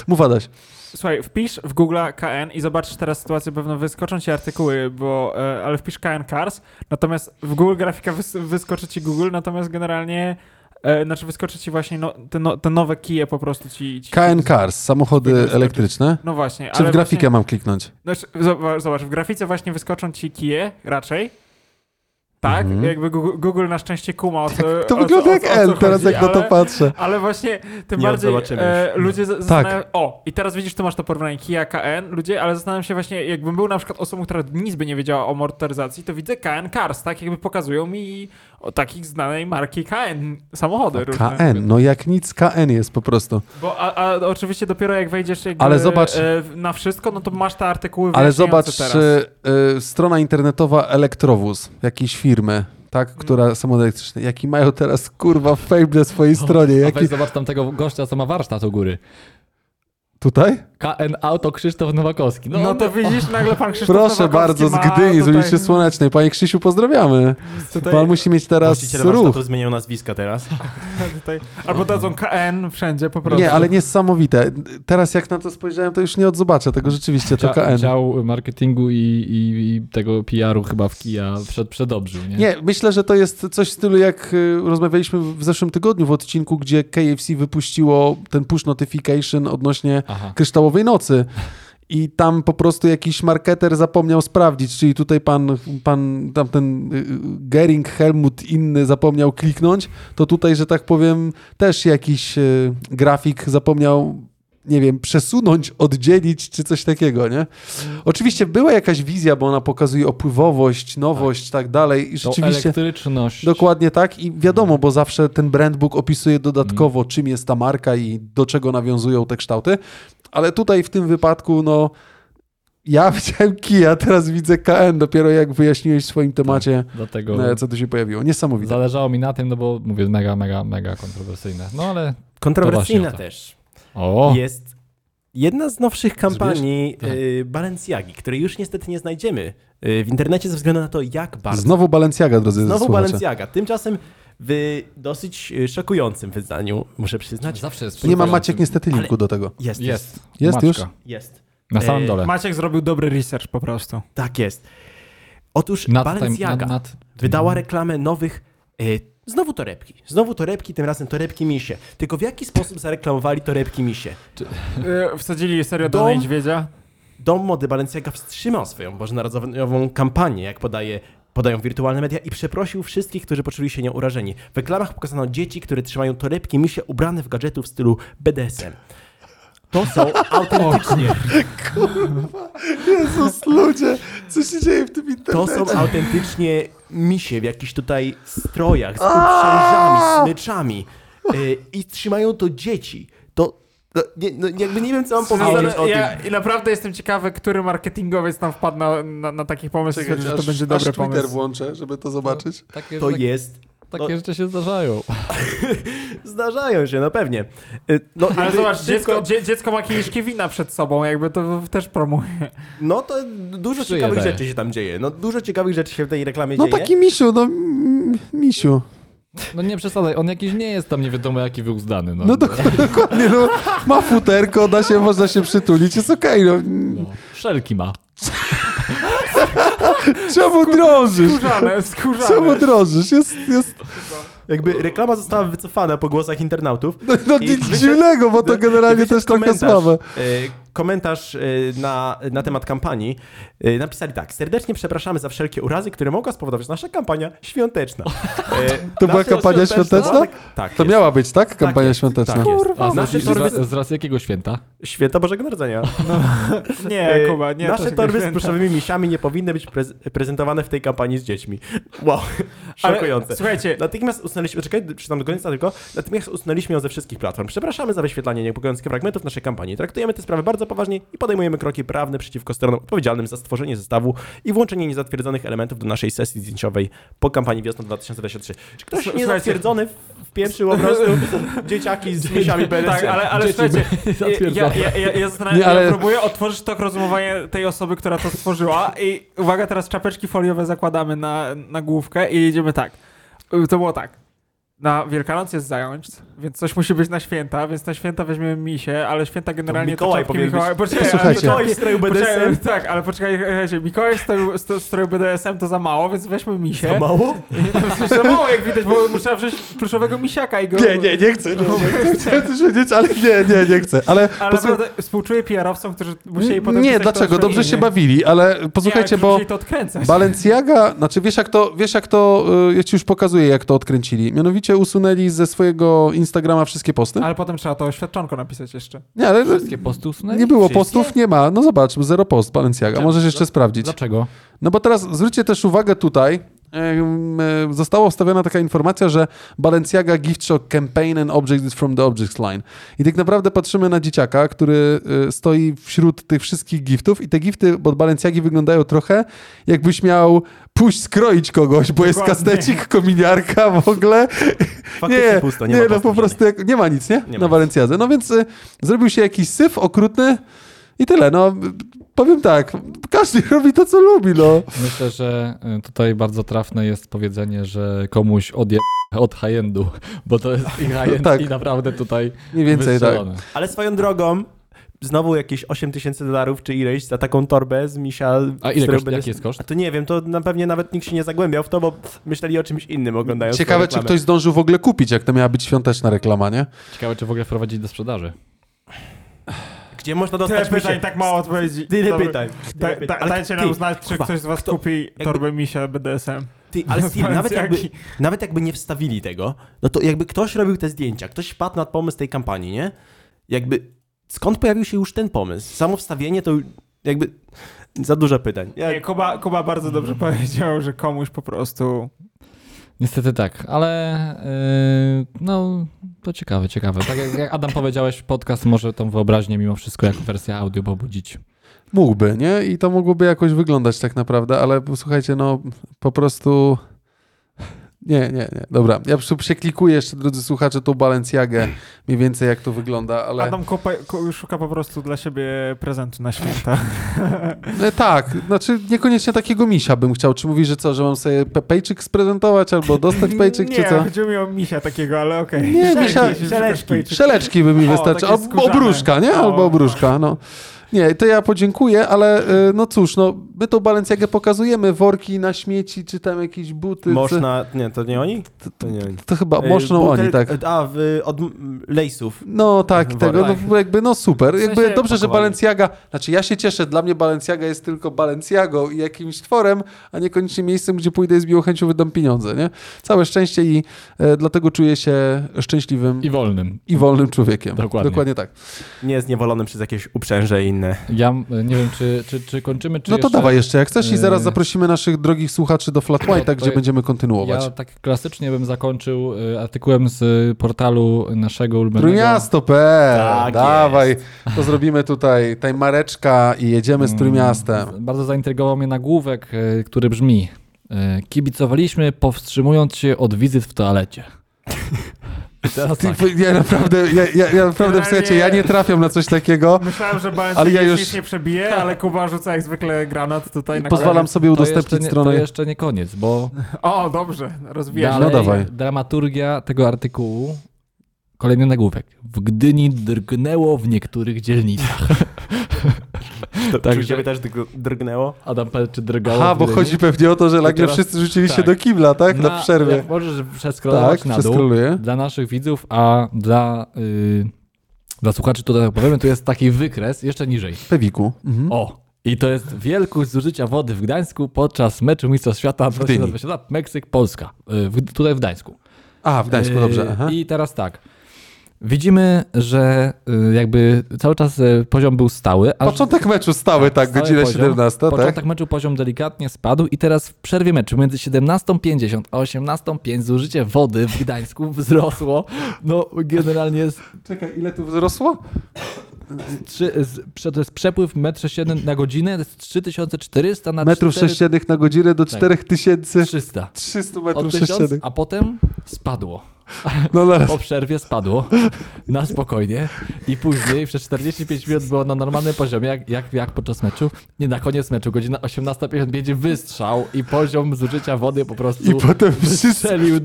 A: Mów Adaś.
C: Słuchaj, wpisz w Google KN i zobaczysz teraz sytuację, pewno wyskoczą ci artykuły, bo, e, ale wpisz KN Cars, natomiast w Google grafika wys, wyskoczy ci Google, natomiast generalnie, e, znaczy wyskoczy ci właśnie no, te, no, te nowe kije po prostu ci... ci
A: KN Cars, samochody
C: Wyskoczy.
A: elektryczne.
C: No właśnie,
A: Czy
C: ale
A: w grafikę
C: właśnie,
A: mam kliknąć?
C: znaczy, zobacz, zobacz, w grafice właśnie wyskoczą ci kije raczej. Tak,
A: Mhm. Tak,
C: jakby Google, Google na szczęście kuma o co o co-
A: To wygląda
C: o
A: jak
C: co- o co
A: N, teraz
C: chodzi,
A: jak na to
C: ale-
A: patrzę.
C: ale właśnie tym
B: Nie,
C: bardziej
B: zobaczymy
C: e,
B: już. No.
C: ludzie tak. zastanawiają... O, i teraz widzisz, tu masz to porównanie Kia, KN, ludzie, ale zastanawiam się właśnie, jakbym był na przykład osobą, która nic by nie wiedziała o motoryzacji, to widzę KN Cars, tak? Jakby pokazują mi o takich znanej marki KN samochody różne.
A: KN, no jak nic KN jest po prostu.
C: Bo, a, a oczywiście dopiero jak wejdziesz jakby,
A: Ale zobacz-
C: e, na wszystko, no to masz te artykuły
A: Ale
C: wyjaśniające
A: zobacz,
C: teraz.
A: y, y, strona internetowa Elektrowóz, jakiejś firmy, tak,
C: Mm.
A: która są elektryczne, jaki mają teraz kurwa fame na swojej stronie,
D: A
A: No, jaki
D: weź zobacz tam tego gościa, co ma warsztat u góry.
A: tutaj?
D: KN Auto Krzysztof Nowakowski.
C: No, to widzisz, nagle pan Krzysztof
A: Proszę
C: Nowakowski
A: bardzo, z
C: ma
A: Gdyni, z
C: tutaj-
A: ulicy Słonecznej. Panie Krzysiu, pozdrawiamy.
C: tutaj-
A: Pan musi mieć teraz
B: Właściciele
A: ruch.
B: warsztatów zmieniają nazwiska teraz.
C: tutaj- Albo dadzą KN wszędzie po prostu.
A: Nie, ale niesamowite. Teraz jak na to spojrzałem, to już nie odzobaczę tego rzeczywiście, to
D: Dzia-
A: KN.
D: Dział marketingu i, i, i tego PR-u chyba w kija przed, przedobrzył, nie?
A: Nie, myślę, że to jest coś w stylu, jak y, rozmawialiśmy w zeszłym tygodniu w odcinku, gdzie KFC wypuściło ten push notification odnośnie
D: Aha.
A: kryształowej nocy. I tam po prostu jakiś marketer zapomniał sprawdzić, czyli tutaj pan, pan tamten y, y, Gering, Helmut, inny zapomniał kliknąć, to tutaj, że tak powiem, też jakiś y, grafik zapomniał, nie wiem, przesunąć, oddzielić czy coś takiego, nie? Oczywiście była jakaś wizja, bo ona pokazuje opływowość, nowość, tak, dalej. I
D: Tą
A: rzeczywiście.
D: elektryczność.
A: Dokładnie tak i wiadomo, bo zawsze ten brandbook opisuje dodatkowo, czym jest ta marka i do czego nawiązują te kształty, ale tutaj w tym wypadku, no ja [laughs] widziałem Kia, teraz widzę KN, dopiero jak wyjaśniłeś w swoim temacie,
D: Dlatego
A: e, co tu się pojawiło. Niesamowite.
D: zależało mi na tym, no bo mówię, mega, mega, mega kontrowersyjne. No ale...
B: Kontrowersyjna
D: To właśnie
B: też
D: O!
B: jest jedna z nowszych kampanii y, Balenciagi, której już niestety nie znajdziemy y, w internecie ze względu na to, jak bardzo.
A: Znowu Balenciaga, drodzy
B: Znowu
A: słuchacze.
B: Balenciaga. Tymczasem w dosyć y, szokującym wyznaniu, muszę przyznać.
D: Zawsze jest...
A: Nie ma Maciek niestety linku do tego.
B: Jest, jest.
D: Jest.
A: Jest
D: Maczka.
A: już?
B: jest.
D: Na samym
B: E,
D: dole.
C: Maciek zrobił dobry research po prostu.
B: Tak jest. Otóż
D: Nad, time,
B: Balenciaga
D: nad, nad...
B: wydała reklamę nowych. y, Znowu torebki. Znowu torebki, tym razem torebki misie. Tylko w jaki sposób zareklamowali torebki misie?
C: E, Wsadzili serio do
B: Dom-
C: niedźwiedzia.
B: Dom mody Balenciaga wstrzymał swoją bożonarodzeniową kampanię, jak podaje, podają wirtualne media, i przeprosił wszystkich, którzy poczuli się nią urażeni. W reklamach pokazano dzieci, które trzymają torebki misie ubrane w gadżety w stylu BDSM. To są autentycznie,
A: Jezus, ludzie, co się dzieje w tym
B: to
A: [laughs] internecie?
B: są autentycznie misie w jakichś tutaj strojach, z uprzężami, smyczami. Y, I trzymają to dzieci. To, no, nie, no, jakby nie wiem, co mam powiedzieć o tym.
C: no, ja, I naprawdę jestem ciekawy, który marketingowiec tam wpadł na, na, na taki pomysł, i stwierdził, że to będzie
A: aż
C: dobry
A: Twitter
C: pomysł.
A: włączę, żeby to zobaczyć.
D: [laughs] Takie,
B: To
D: tak-
B: jest...
D: takie
B: no-
D: rzeczy się zdarzają.
B: Zdarzają się, no pewnie. Y, No,
C: Ale
B: jakby
C: zobacz,
B: tylko-
C: dziecko, dzie, dziecko ma kieliszki wina przed sobą, jakby to też promuje.
B: No to dużo
D: Przyje
B: ciekawych
D: daje.
B: rzeczy się tam dzieje. No dużo ciekawych rzeczy się w tej reklamie
A: No
B: dzieje.
A: taki misiu, no mm, misiu.
D: No nie przesadzaj, on jakiś nie jest tam nie wiadomo jaki wyuzdany. No,
A: No dok dokładnie, no, ma futerko, da się, można się przytulić, jest okej, no.
D: Wszelki ma.
A: Czemu drążysz?
C: Skórzane, skórzane.
A: Czemu drążysz? Jest, jest,
B: Jakby reklama została wycofana po głosach internautów.
A: no, no
B: I
A: nic
B: wyszedł-
A: dziwnego, bo to generalnie
B: wyszedł
A: też trochę
B: komentarz,
A: słabe.
B: y, Komentarz y, na, na temat kampanii y, napisali tak. Serdecznie przepraszamy za wszelkie urazy, które mogła spowodować nasza kampania świąteczna. Y,
A: To była
B: nasza
A: kampania świąteczna?
B: Tak, tak
A: To
B: jest.
A: miała być, tak? Kampania
B: jest,
A: świąteczna.
B: Tak jest.
D: A
C: znaczy,
B: Nasze
D: z,
B: torby...
D: z, z racji jakiego święta?
B: Święta Bożego Narodzenia.
C: Nie,
B: E,
C: Kuba, nie. to
B: Nasze
C: się
B: torby z
C: święta.
B: pluszowymi misiami nie powinny być prez prezentowane w tej kampanii z dziećmi. Wow,
C: Ale
B: szokujące.
C: Słuchajcie,
B: Natychmiast usunęliśmy, czekaj, czytam do końca tylko, natychmiast usunęliśmy ją ze wszystkich platform. Przepraszamy za wyświetlanie niepokojących fragmentów naszej kampanii. Traktujemy te sprawy bardzo poważnie i podejmujemy kroki prawne przeciwko stronom odpowiedzialnym za stworzenie zestawu i włączenie niezatwierdzonych elementów do naszej sesji zdjęciowej po kampanii wiosną 2023. Czy ktoś
C: Słuchajcie-
B: niezatwierdzony wpieprzył po
A: [laughs]
B: prostu dzieciaki z misiami BLC?
C: Tak, ale, ale słuchajcie, ja, ja, ja, ja, zastanawiam,
A: Nie, ale-
C: ja próbuję otworzyć tok rozumowania tej osoby, która to stworzyła i uwaga, teraz czapeczki foliowe zakładamy na, na główkę i jedziemy tak. Y, To było tak. Na Wielkanoc jest zająć, więc coś musi być na święta, więc na święta weźmiemy misie, ale święta generalnie
B: Mikołaj
C: czapki
B: powinien
C: Mikołaja. Poczekaj, ale
A: Posłuchajcie.
C: Mikołaj-
B: Mikołaj w stroju
C: Poczekaj,
B: BDSM.
C: tak, ale poczekaj, słuchajcie, Mikołaj z stroju- z stroju BDSM to za mało, więc weźmy misie.
B: To mało?
C: [laughs] Za mało, jak widać, bo muszę wziąć pluszowego misiaka i go...
A: Nie, nie, nie chcę. Nie chcę coś wiedzieć, ale nie, nie, nie chcę. Ale,
C: Ale
A: posłuch-
C: naprawdę współczuję PR-owcom, którzy musieli potem...
A: nie,
C: pisać to
A: dlaczego?
C: swoim
A: Dobrze się
C: imieniu.
A: bawili, ale posłuchajcie,
C: nie,
A: bo...
C: musieli to odkręcać.
A: Balenciaga, znaczy wiesz jak to, wiesz jak to, y, ja ci już pokazuję jak to odkręcili. Mianowicie usunęli ze swojego Instagrama wszystkie posty.
C: Ale potem trzeba to oświadczonko napisać jeszcze.
A: Nie, ale
D: Wszystkie posty usunęli?
A: nie było
D: No Wszystkie?
A: postów, nie ma. No zobacz, zero post Balenciaga, możesz jeszcze sprawdzić.
D: Dlaczego?
A: No bo teraz zwróćcie też uwagę tutaj, em, e, została wstawiona taka informacja, że Balenciaga gift shop campaign and object is from the objects line. I tak naprawdę patrzymy na dzieciaka, który e, stoi wśród tych wszystkich giftów i te gifty od Balenciagi wyglądają trochę jakbyś miał pójść skroić kogoś, bo jest
C: Dokładnie.
A: kastecik, kominiarka w ogóle.
B: Faktycznie pusto, nie ma
A: nie no po
B: postaw
A: prostu jak, nie ma nic, nie?
B: Nie ma
A: na
B: nic.
A: Balenciadze. No więc y, zrobił się jakiś syf okrutny I tyle, no powiem tak, każdy [laughs] robi to, co lubi, no.
D: Myślę, że y, tutaj bardzo trafne jest powiedzenie, że komuś odje od high-endu, bo
A: [laughs]
D: to jest i high-end
A: Tak.
D: i naprawdę tutaj
A: Mniej więcej tak.
D: wystrzelone.
B: Ale swoją drogą, znowu jakieś 8 tysięcy dolarów czy ileś za taką torbę z misia.
D: A
B: z
D: ile
B: którą
D: koszt,
B: będę-
D: jaki jest koszt?
B: A to nie wiem, to na pewnie nawet nikt się nie zagłębiał w to, bo myśleli o czymś innym oglądając tę
A: Ciekawe, czy
B: reklamę.
A: ktoś zdążył w ogóle kupić, jak to miała być świąteczna reklama, nie?
D: Ciekawe, czy w ogóle wprowadzić do sprzedaży.
B: Gdzie można
C: Tyle
B: dostać
C: pytań,
B: misie?
C: tak mało odpowiedzi.
B: Tyle
C: Dobra.
B: pytań.
C: Da,
B: Tyle
C: da,
B: pytań. Ale
C: dajcie
B: ty,
C: nam znać, czy
B: kurwa,
C: ktoś z was
B: kto-
C: kupi
B: jakby-
C: torbę misia BDSM.
B: Ty, ale Steve, nawet, jakby,
C: Powiedz,
B: nawet jakby nie wstawili tego, no to jakby ktoś robił te zdjęcia, ktoś wpadł na pomysł tej kampanii, nie? Jakby skąd pojawił się już ten pomysł? Samo wstawienie to jakby za dużo pytań. Ja,
C: Nie, Kuba, Kuba bardzo dobrze powiedział, że komuś po prostu...
D: Niestety tak, ale yy, no to ciekawe, ciekawe. Tak jak, jak Adam powiedziałeś, podcast może tą wyobraźnię mimo wszystko jako wersja audio pobudzić.
A: Mógłby, nie? I to mogłoby jakoś wyglądać tak naprawdę, ale słuchajcie, no po prostu... Nie, nie, nie. Dobra, ja po prostu przeklikuję jeszcze, drodzy słuchacze, tą Balenciagę, mniej więcej jak to wygląda, ale...
C: Adam kupa, ku, szuka po prostu dla siebie prezentu na [laughs] święta.
A: E, tak, znaczy niekoniecznie takiego misia bym chciał. Czy mówisz, że co, że mam sobie pe- pejczyk sprezentować albo
C: [laughs]
A: dostać pejczyk,
C: nie,
A: czy co?
C: chodziło mi o misia takiego, ale okej.
A: Nie, misia-
C: Jakiś
B: szeleczki.
C: pejczyk.
A: Szeleczki by mi
C: O,
A: wystarczyły.
C: takie
A: Albo
C: skórzane.
A: obruszka, nie?
C: O.
A: Albo obruszka, no. Nie, to ja podziękuję, ale y, no cóż, no, my tą Balenciagę pokazujemy, worki na śmieci, czy tam jakieś buty. co-
B: można, nie, to nie oni? To nie oni.
A: To chyba
B: Y,
A: moszną
B: butel-
A: oni, tak.
B: A, w, od m, lejsów.
A: No tak, i
B: Worek.
A: tego, no jakby, no super.
C: sensie
A: Jakby dobrze, że
B: pakowanie.
A: Balenciaga, znaczy ja się cieszę, dla mnie Balenciaga jest tylko Balenciagą i jakimś tworem, a niekoniecznie miejscem, gdzie pójdę i z miłą chęcią wydam pieniądze, nie? Całe szczęście i e, dlatego czuję się szczęśliwym
D: I
A: i,
D: wolnym.
A: wolnym człowiekiem.
D: Dokładnie.
A: Dokładnie tak.
B: Nie zniewolonym przez jakieś uprzęże i inne. [laughs]
D: Ja y, nie wiem, czy, czy, czy kończymy, czy
A: no to
D: jeszcze...
A: dawaj jeszcze, jak chcesz i zaraz
D: Yy. no
A: zaprosimy naszych drogich słuchaczy do Flat White'a,
D: to
A: gdzie
D: ja-
A: będziemy kontynuować.
D: Ja tak klasycznie bym zakończył y, artykułem z y, portalu naszego ulubionego.
A: Trójmiasto.pl,
B: Tak
A: E. dawaj, to zrobimy tutaj, tutaj mareczka i jedziemy z Trójmiastem.
D: Mm, Bardzo zaintrygował mnie nagłówek, y, który brzmi y, Kibicowaliśmy powstrzymując się od wizyt
A: [laughs]
D: w toalecie. I teraz
A: Ty,
D: tak.
A: Ja naprawdę, ja, ja, ja naprawdę,
C: Generalnie-
A: słuchajcie, ja nie trafiam na coś takiego.
C: Myślałem, że
A: Ale
C: Balenciaga
A: ja
C: ja
A: już-
C: już nie przebije, ale Kuba rzuca jak zwykle granat tutaj na
A: Pozwalam sobie
D: To jeszcze,
A: udostępnić
D: nie, to
A: stronę.
D: jeszcze nie koniec,
A: [laughs]
D: bo
C: kolanie. O, dobrze, rozwija się.
D: dalej
A: No dawaj.
D: dramaturgia tego artykułu, kolejny nagłówek. W Gdyni drgnęło w niektórych
A: [laughs]
D: dzielnicach.
B: To,
D: Także-
B: Czy u ciebie też drg- drgnęło?
D: Adam P. czy drgało
A: Aha,
D: w
A: bo
D: Gdyni?
A: chodzi pewnie o to, że nagle
D: teraz-
A: wszyscy rzucili się
D: tak.
A: do kibla, tak? Na przerwie.
D: jak Możesz przeskrolować
A: Tak,
D: na dół.
A: przeskroluję.
D: dla naszych widzów, a dla, y, dla słuchaczy tutaj tak powiemy, tu jest taki wykres jeszcze niżej.
A: Pewiku. Mhm.
D: O! I to jest wielkość zużycia wody w Gdańsku podczas meczu Mistrzostw Świata
A: Gdyni.
D: 2022 Meksyk-Polska. Y, w- tutaj w Gdańsku.
A: A, w Gdańsku,
D: Y,
A: dobrze. Aha.
D: I teraz tak. Widzimy, że y, jakby cały czas y, poziom był stały. aż-
A: Początek meczu stały, tak,
D: stały
A: godzina
D: poziom.
A: 17,
D: Początek
A: tak?
D: meczu poziom delikatnie spadł i teraz w przerwie meczu między 17.50 a 18.05 zużycie wody w Gdańsku [laughs] wzrosło. No generalnie z,
A: Czekaj, ile tu wzrosło?
D: trzy, z, prze- to jest przepływ 1,7 m na godzinę, to jest 3400 na tak.
A: Metrów
D: 4
A: sześciennych na godzinę do 4300
D: 300. Od
A: metrów
D: 1000,
A: sześciennych.
D: a potem spadło.
A: No zaraz.
D: Po przerwie spadło na spokojnie i później przez 45 minut było na normalnym poziomie, jak, jak, jak podczas meczu. Nie, na koniec meczu, godzina 18.55 wystrzał i poziom zużycia wody po prostu
A: I potem wszyscy...
D: strzelił.
A: I,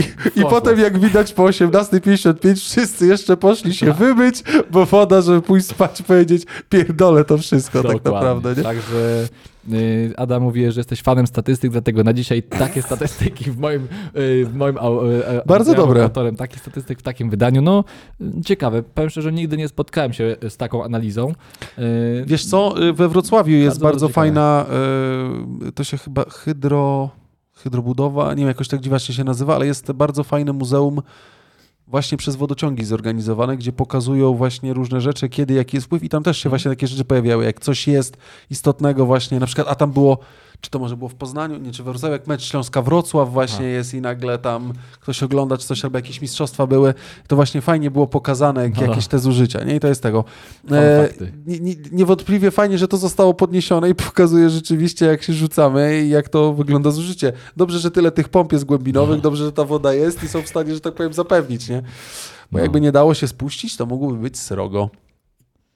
A: I
D: Poszło.
A: potem jak widać po 18.55 wszyscy jeszcze poszli się wybyć, bo woda, żeby pójść spać, powiedzieć pierdolę to wszystko tak naprawdę, nie?
D: Także y, Adam mówi, że jesteś fanem statystyk, dlatego na dzisiaj takie statystyki w moim... y, w moim au- y, y,
A: Bardzo
D: ja byłem
A: dobre.
D: Autorem takich statystyk w takim wydaniu. No, y, ciekawe. Powiem szczerze, nigdy nie spotkałem się z taką analizą. Y,
A: Wiesz co, y, we Wrocławiu jest
D: Bardzo
A: bardzo,
D: ciekawe.
A: fajna, y, to się chyba hydro, hydrobudowa, nie wiem, jakoś tak dziwacznie się nazywa, ale jest bardzo fajne muzeum właśnie przez wodociągi zorganizowane, gdzie pokazują właśnie różne rzeczy, kiedy, jaki jest wpływ i tam też
D: Mhm.
A: się właśnie takie rzeczy pojawiały, jak coś jest istotnego właśnie, na przykład, a tam było, czy to może było w Poznaniu, nie, czy we Wrocławiu, jak mecz Śląska-Wrocław właśnie jest i nagle tam ktoś ogląda, czy coś, albo jakieś mistrzostwa były, to właśnie fajnie było pokazane, jak,
D: Aha.
A: jakieś te zużycia, nie, i to jest tego.
D: Fajne fakty.
A: nie- nie- E, niewątpliwie fajnie, że to zostało podniesione i [laughs] pokazuje rzeczywiście, jak się rzucamy i jak to wygląda zużycie. Dobrze, że tyle tych pomp jest
B: No.
A: głębinowych, dobrze, że ta woda jest i są w stanie, że tak powiem, zapewnić, nie? Bo
D: No.
A: jakby nie dało się spuścić, to mogłoby być srogo.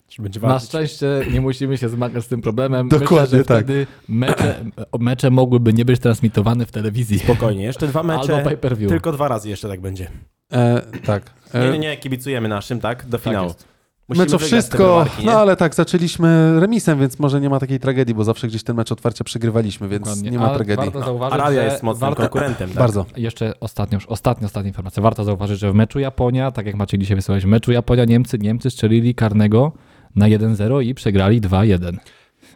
B: Czy będzie
D: Na
B: walczyć?
D: szczęście nie musimy się zmagać z tym problemem.
A: Dokładnie
D: Myślę, że
A: tak.
D: wtedy mecze, mecze mogłyby nie być transmitowane w telewizji.
B: Spokojnie, jeszcze dwa mecze.
D: Albo pay-per-view.
B: Tylko dwa razy jeszcze tak będzie.
A: E, tak.
B: Nie,
A: E,
B: nie, nie, kibicujemy naszym, tak? Do
D: Tak
B: finału.
D: jest.
A: My co
B: wygrać te
A: wszystko,
B: browarki, nie?
A: no ale tak, zaczęliśmy remisem, więc może nie ma takiej tragedii, bo zawsze gdzieś ten mecz otwarcie przegrywaliśmy, więc
D: Dokładnie.
A: nie ma
D: Ale
A: tragedii.
D: Warto zauważyć,
B: Arabia
D: że
B: jest mocnym
D: warto-
B: konkurentem. Tak?
A: Bardzo.
D: Jeszcze ostatnia, już ostatnia, ostatnia informacja. Warto zauważyć, że w meczu Japonia, tak jak Maciej dzisiaj wysłałeś, w meczu Japonia-Niemcy, Niemcy strzelili karnego na 1-0 i przegrali 2-1.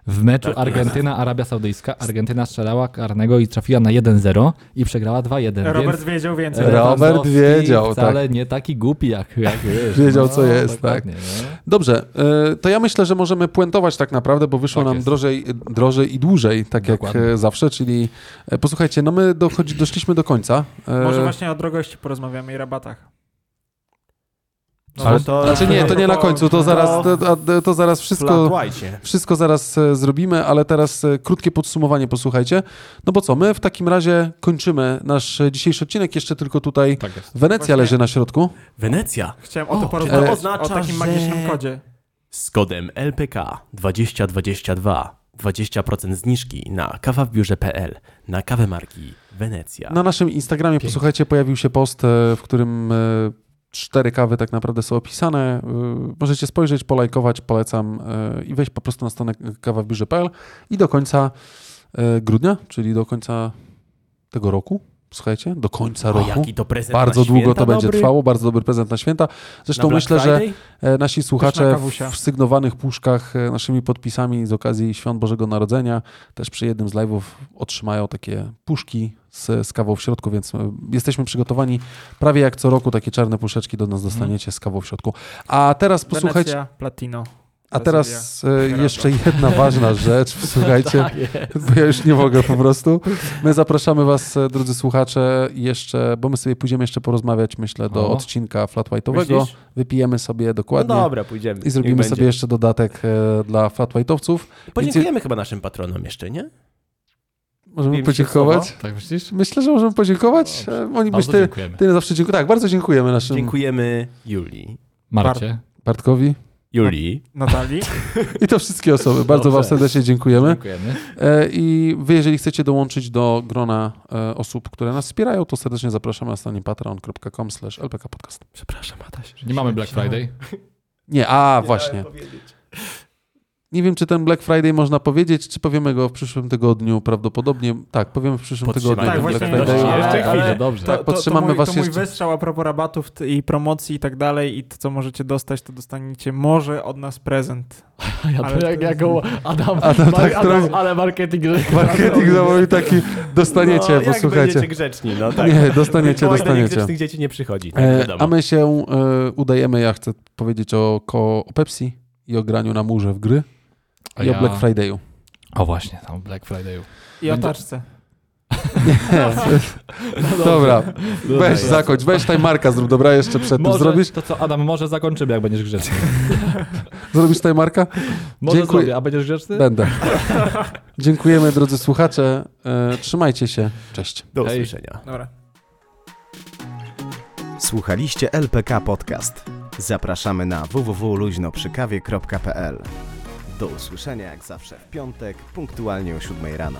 D: W meczu Argentyna-Arabia Saudyjska, Argentyna strzelała karnego i trafiła na 1-0 i przegrała 2-1.
C: Robert
D: więc
C: wiedział więcej.
A: Ro- E, Robert wiedział, tak.
D: wcale nie taki głupi jak, jak wiesz,
A: [laughs] Wiedział, co jest, tak.
D: dokładnie, no.
A: Dobrze, e, to ja myślę, że możemy puentować tak naprawdę, bo wyszło
D: Tak
A: nam
D: jest.
A: drożej, drożej i dłużej, tak
D: Dokładnie.
A: jak e, zawsze, czyli e, posłuchajcie, no my dochodzi, doszliśmy do końca. E,
C: Może właśnie o drogości porozmawiamy i rabatach.
B: Ale to...
A: Znaczy nie, to nie na końcu,
C: No,
A: to zaraz, to, a- to zaraz wszystko...
B: Flatłajcie.
A: Wszystko zaraz e, zrobimy, ale teraz e, krótkie podsumowanie posłuchajcie. No bo co, my w takim razie kończymy nasz e, dzisiejszy odcinek. Jeszcze tylko tutaj
D: Tak jest.
A: Wenecja
C: Właśnie-
A: leży na środku.
B: Wenecja
C: Chciałem o, tym
B: O,
C: porozmawiać.
A: to
B: oznacza,
C: o takim
B: że-
C: magicznym kodzie.
B: z kodem LPK 2022. 20% zniżki na kawabiurze.pl na kawę marki Wenecja.
A: Na naszym Instagramie, posłuchajcie, pojawił się post, e, w którym e, cztery kawy tak naprawdę są opisane. E, Możecie spojrzeć, polajkować, polecam e, i wejść po prostu na stronę kawa w biurze.pl i do końca e, grudnia, czyli do końca tego roku, słuchajcie, do końca
B: o,
A: roku.
B: jaki to prezent
A: Bardzo
B: na
A: długo
B: święta
A: to będzie
B: dobry.
A: trwało, bardzo dobry prezent na święta. Zresztą
B: Na Black
A: myślę, że
B: Friday?
A: E, Nasi
C: Pyszna
A: słuchacze
C: kawusia.
A: w sygnowanych puszkach e, naszymi podpisami z okazji Świąt Bożego Narodzenia też przy jednym z live'ów otrzymają takie puszki z, z kawą w środku, więc e, jesteśmy przygotowani prawie jak co roku takie czarne puszeczki do nas dostaniecie z kawą w środku. A teraz posłuchajcie,
C: Wenecja, Platino.
A: a teraz e, jeszcze jedna ważna
D: [laughs]
A: rzecz, słuchajcie,
D: Tak jest.
A: bo ja już nie mogę po prostu. My zapraszamy was, e, drodzy słuchacze, jeszcze, bo my sobie pójdziemy jeszcze porozmawiać, myślę, do
D: O.
A: odcinka flat white'owego.
B: Myślisz?
A: Wypijemy sobie
B: No
A: dokładnie.
B: dobra, pójdziemy.
A: I zrobimy
B: Niech
A: sobie
B: będzie.
A: jeszcze dodatek e, dla flatwhite'owców.
B: Podziękujemy chyba naszym patronom jeszcze, nie?
A: Możemy
B: Wbijmy się
A: podziękować.
D: Tak myślisz?
A: Myślę, że możemy podziękować. E, Oni
D: Bardzo
A: myślę,
D: dziękujemy.
A: tyle zawsze dziękuję. Tak, bardzo dziękujemy naszym
B: Dziękujemy Julii.
D: Marcie.
A: Bartkowi
B: Julii.
A: Tak,
C: Natalii.
A: i to wszystkie osoby. Bardzo wam
D: Dobrze.
A: serdecznie dziękujemy.
D: Dziękujemy.
A: E, I wy, jeżeli chcecie dołączyć do grona e, osób, które nas wspierają, to serdecznie zapraszamy na stronie patreon.com slash lpkpodcast.
B: Przepraszam, Adaś.
D: Nie mamy Black Friday.
A: Nie, a właśnie. Nie wiem, czy ten Black Friday można powiedzieć, czy powiemy go w przyszłym tygodniu. Prawdopodobnie tak, powiemy w przyszłym
B: Podtrzymaj.
A: tygodniu.
C: Tak,
A: ten
C: właśnie.
A: Black Friday.
C: Ale-
D: Jeszcze
C: ale-
D: chwilę, dobrze.
A: Tak, podtrzymamy
C: to mój,
A: was
C: to mój
A: jeszcze.
C: wystrzał a propos rabatów t- i promocji i tak dalej i to, co możecie dostać, to dostaniecie może od nas prezent.
D: A ja
C: Ale
D: to jak,
C: to-
D: jak go Adam,
A: Adam tak
D: Adam,
A: trochę-
D: ale marketing. że-
A: Marketing zawodowy taki dostaniecie,
B: no, jak
A: posłuchajcie.
B: będziecie grzeczni, no tak.
A: Nie, dostaniecie,
B: Mikołaj do
A: dostaniecie.
B: niegrzecznych dzieci nie przychodzi, tak
A: E,
B: wiadomo.
A: a my się e, udajemy, ja chcę powiedzieć o, ko, o Pepsi i o graniu na murze w gry
D: A
A: i
D: ja-
A: o Black
D: [laughs]
A: Friday'u.
D: O właśnie, tam Black Friday.
C: I otaczce.
D: No
A: Dobra,
B: No
A: weź zakończ, weź timemarka zrób, dobra, jeszcze przed tym
D: Może,
A: zrobisz,
D: To co, Adam, może zakończymy, jak będziesz grzeczny.
A: zrobisz
D: [laughs]
A: timemarka?
D: Może
A: Dziękuję.
D: zrobię, a będziesz grzeczny?
A: Będę. Dziękujemy drodzy słuchacze, e, trzymajcie się, cześć.
B: Do
D: Hej.
B: usłyszenia.
C: Dobra.
F: Słuchaliście LPK Podcast. Zapraszamy na www.luźnoprzykawie.pl. Do usłyszenia jak zawsze w piątek, punktualnie o 7 rano.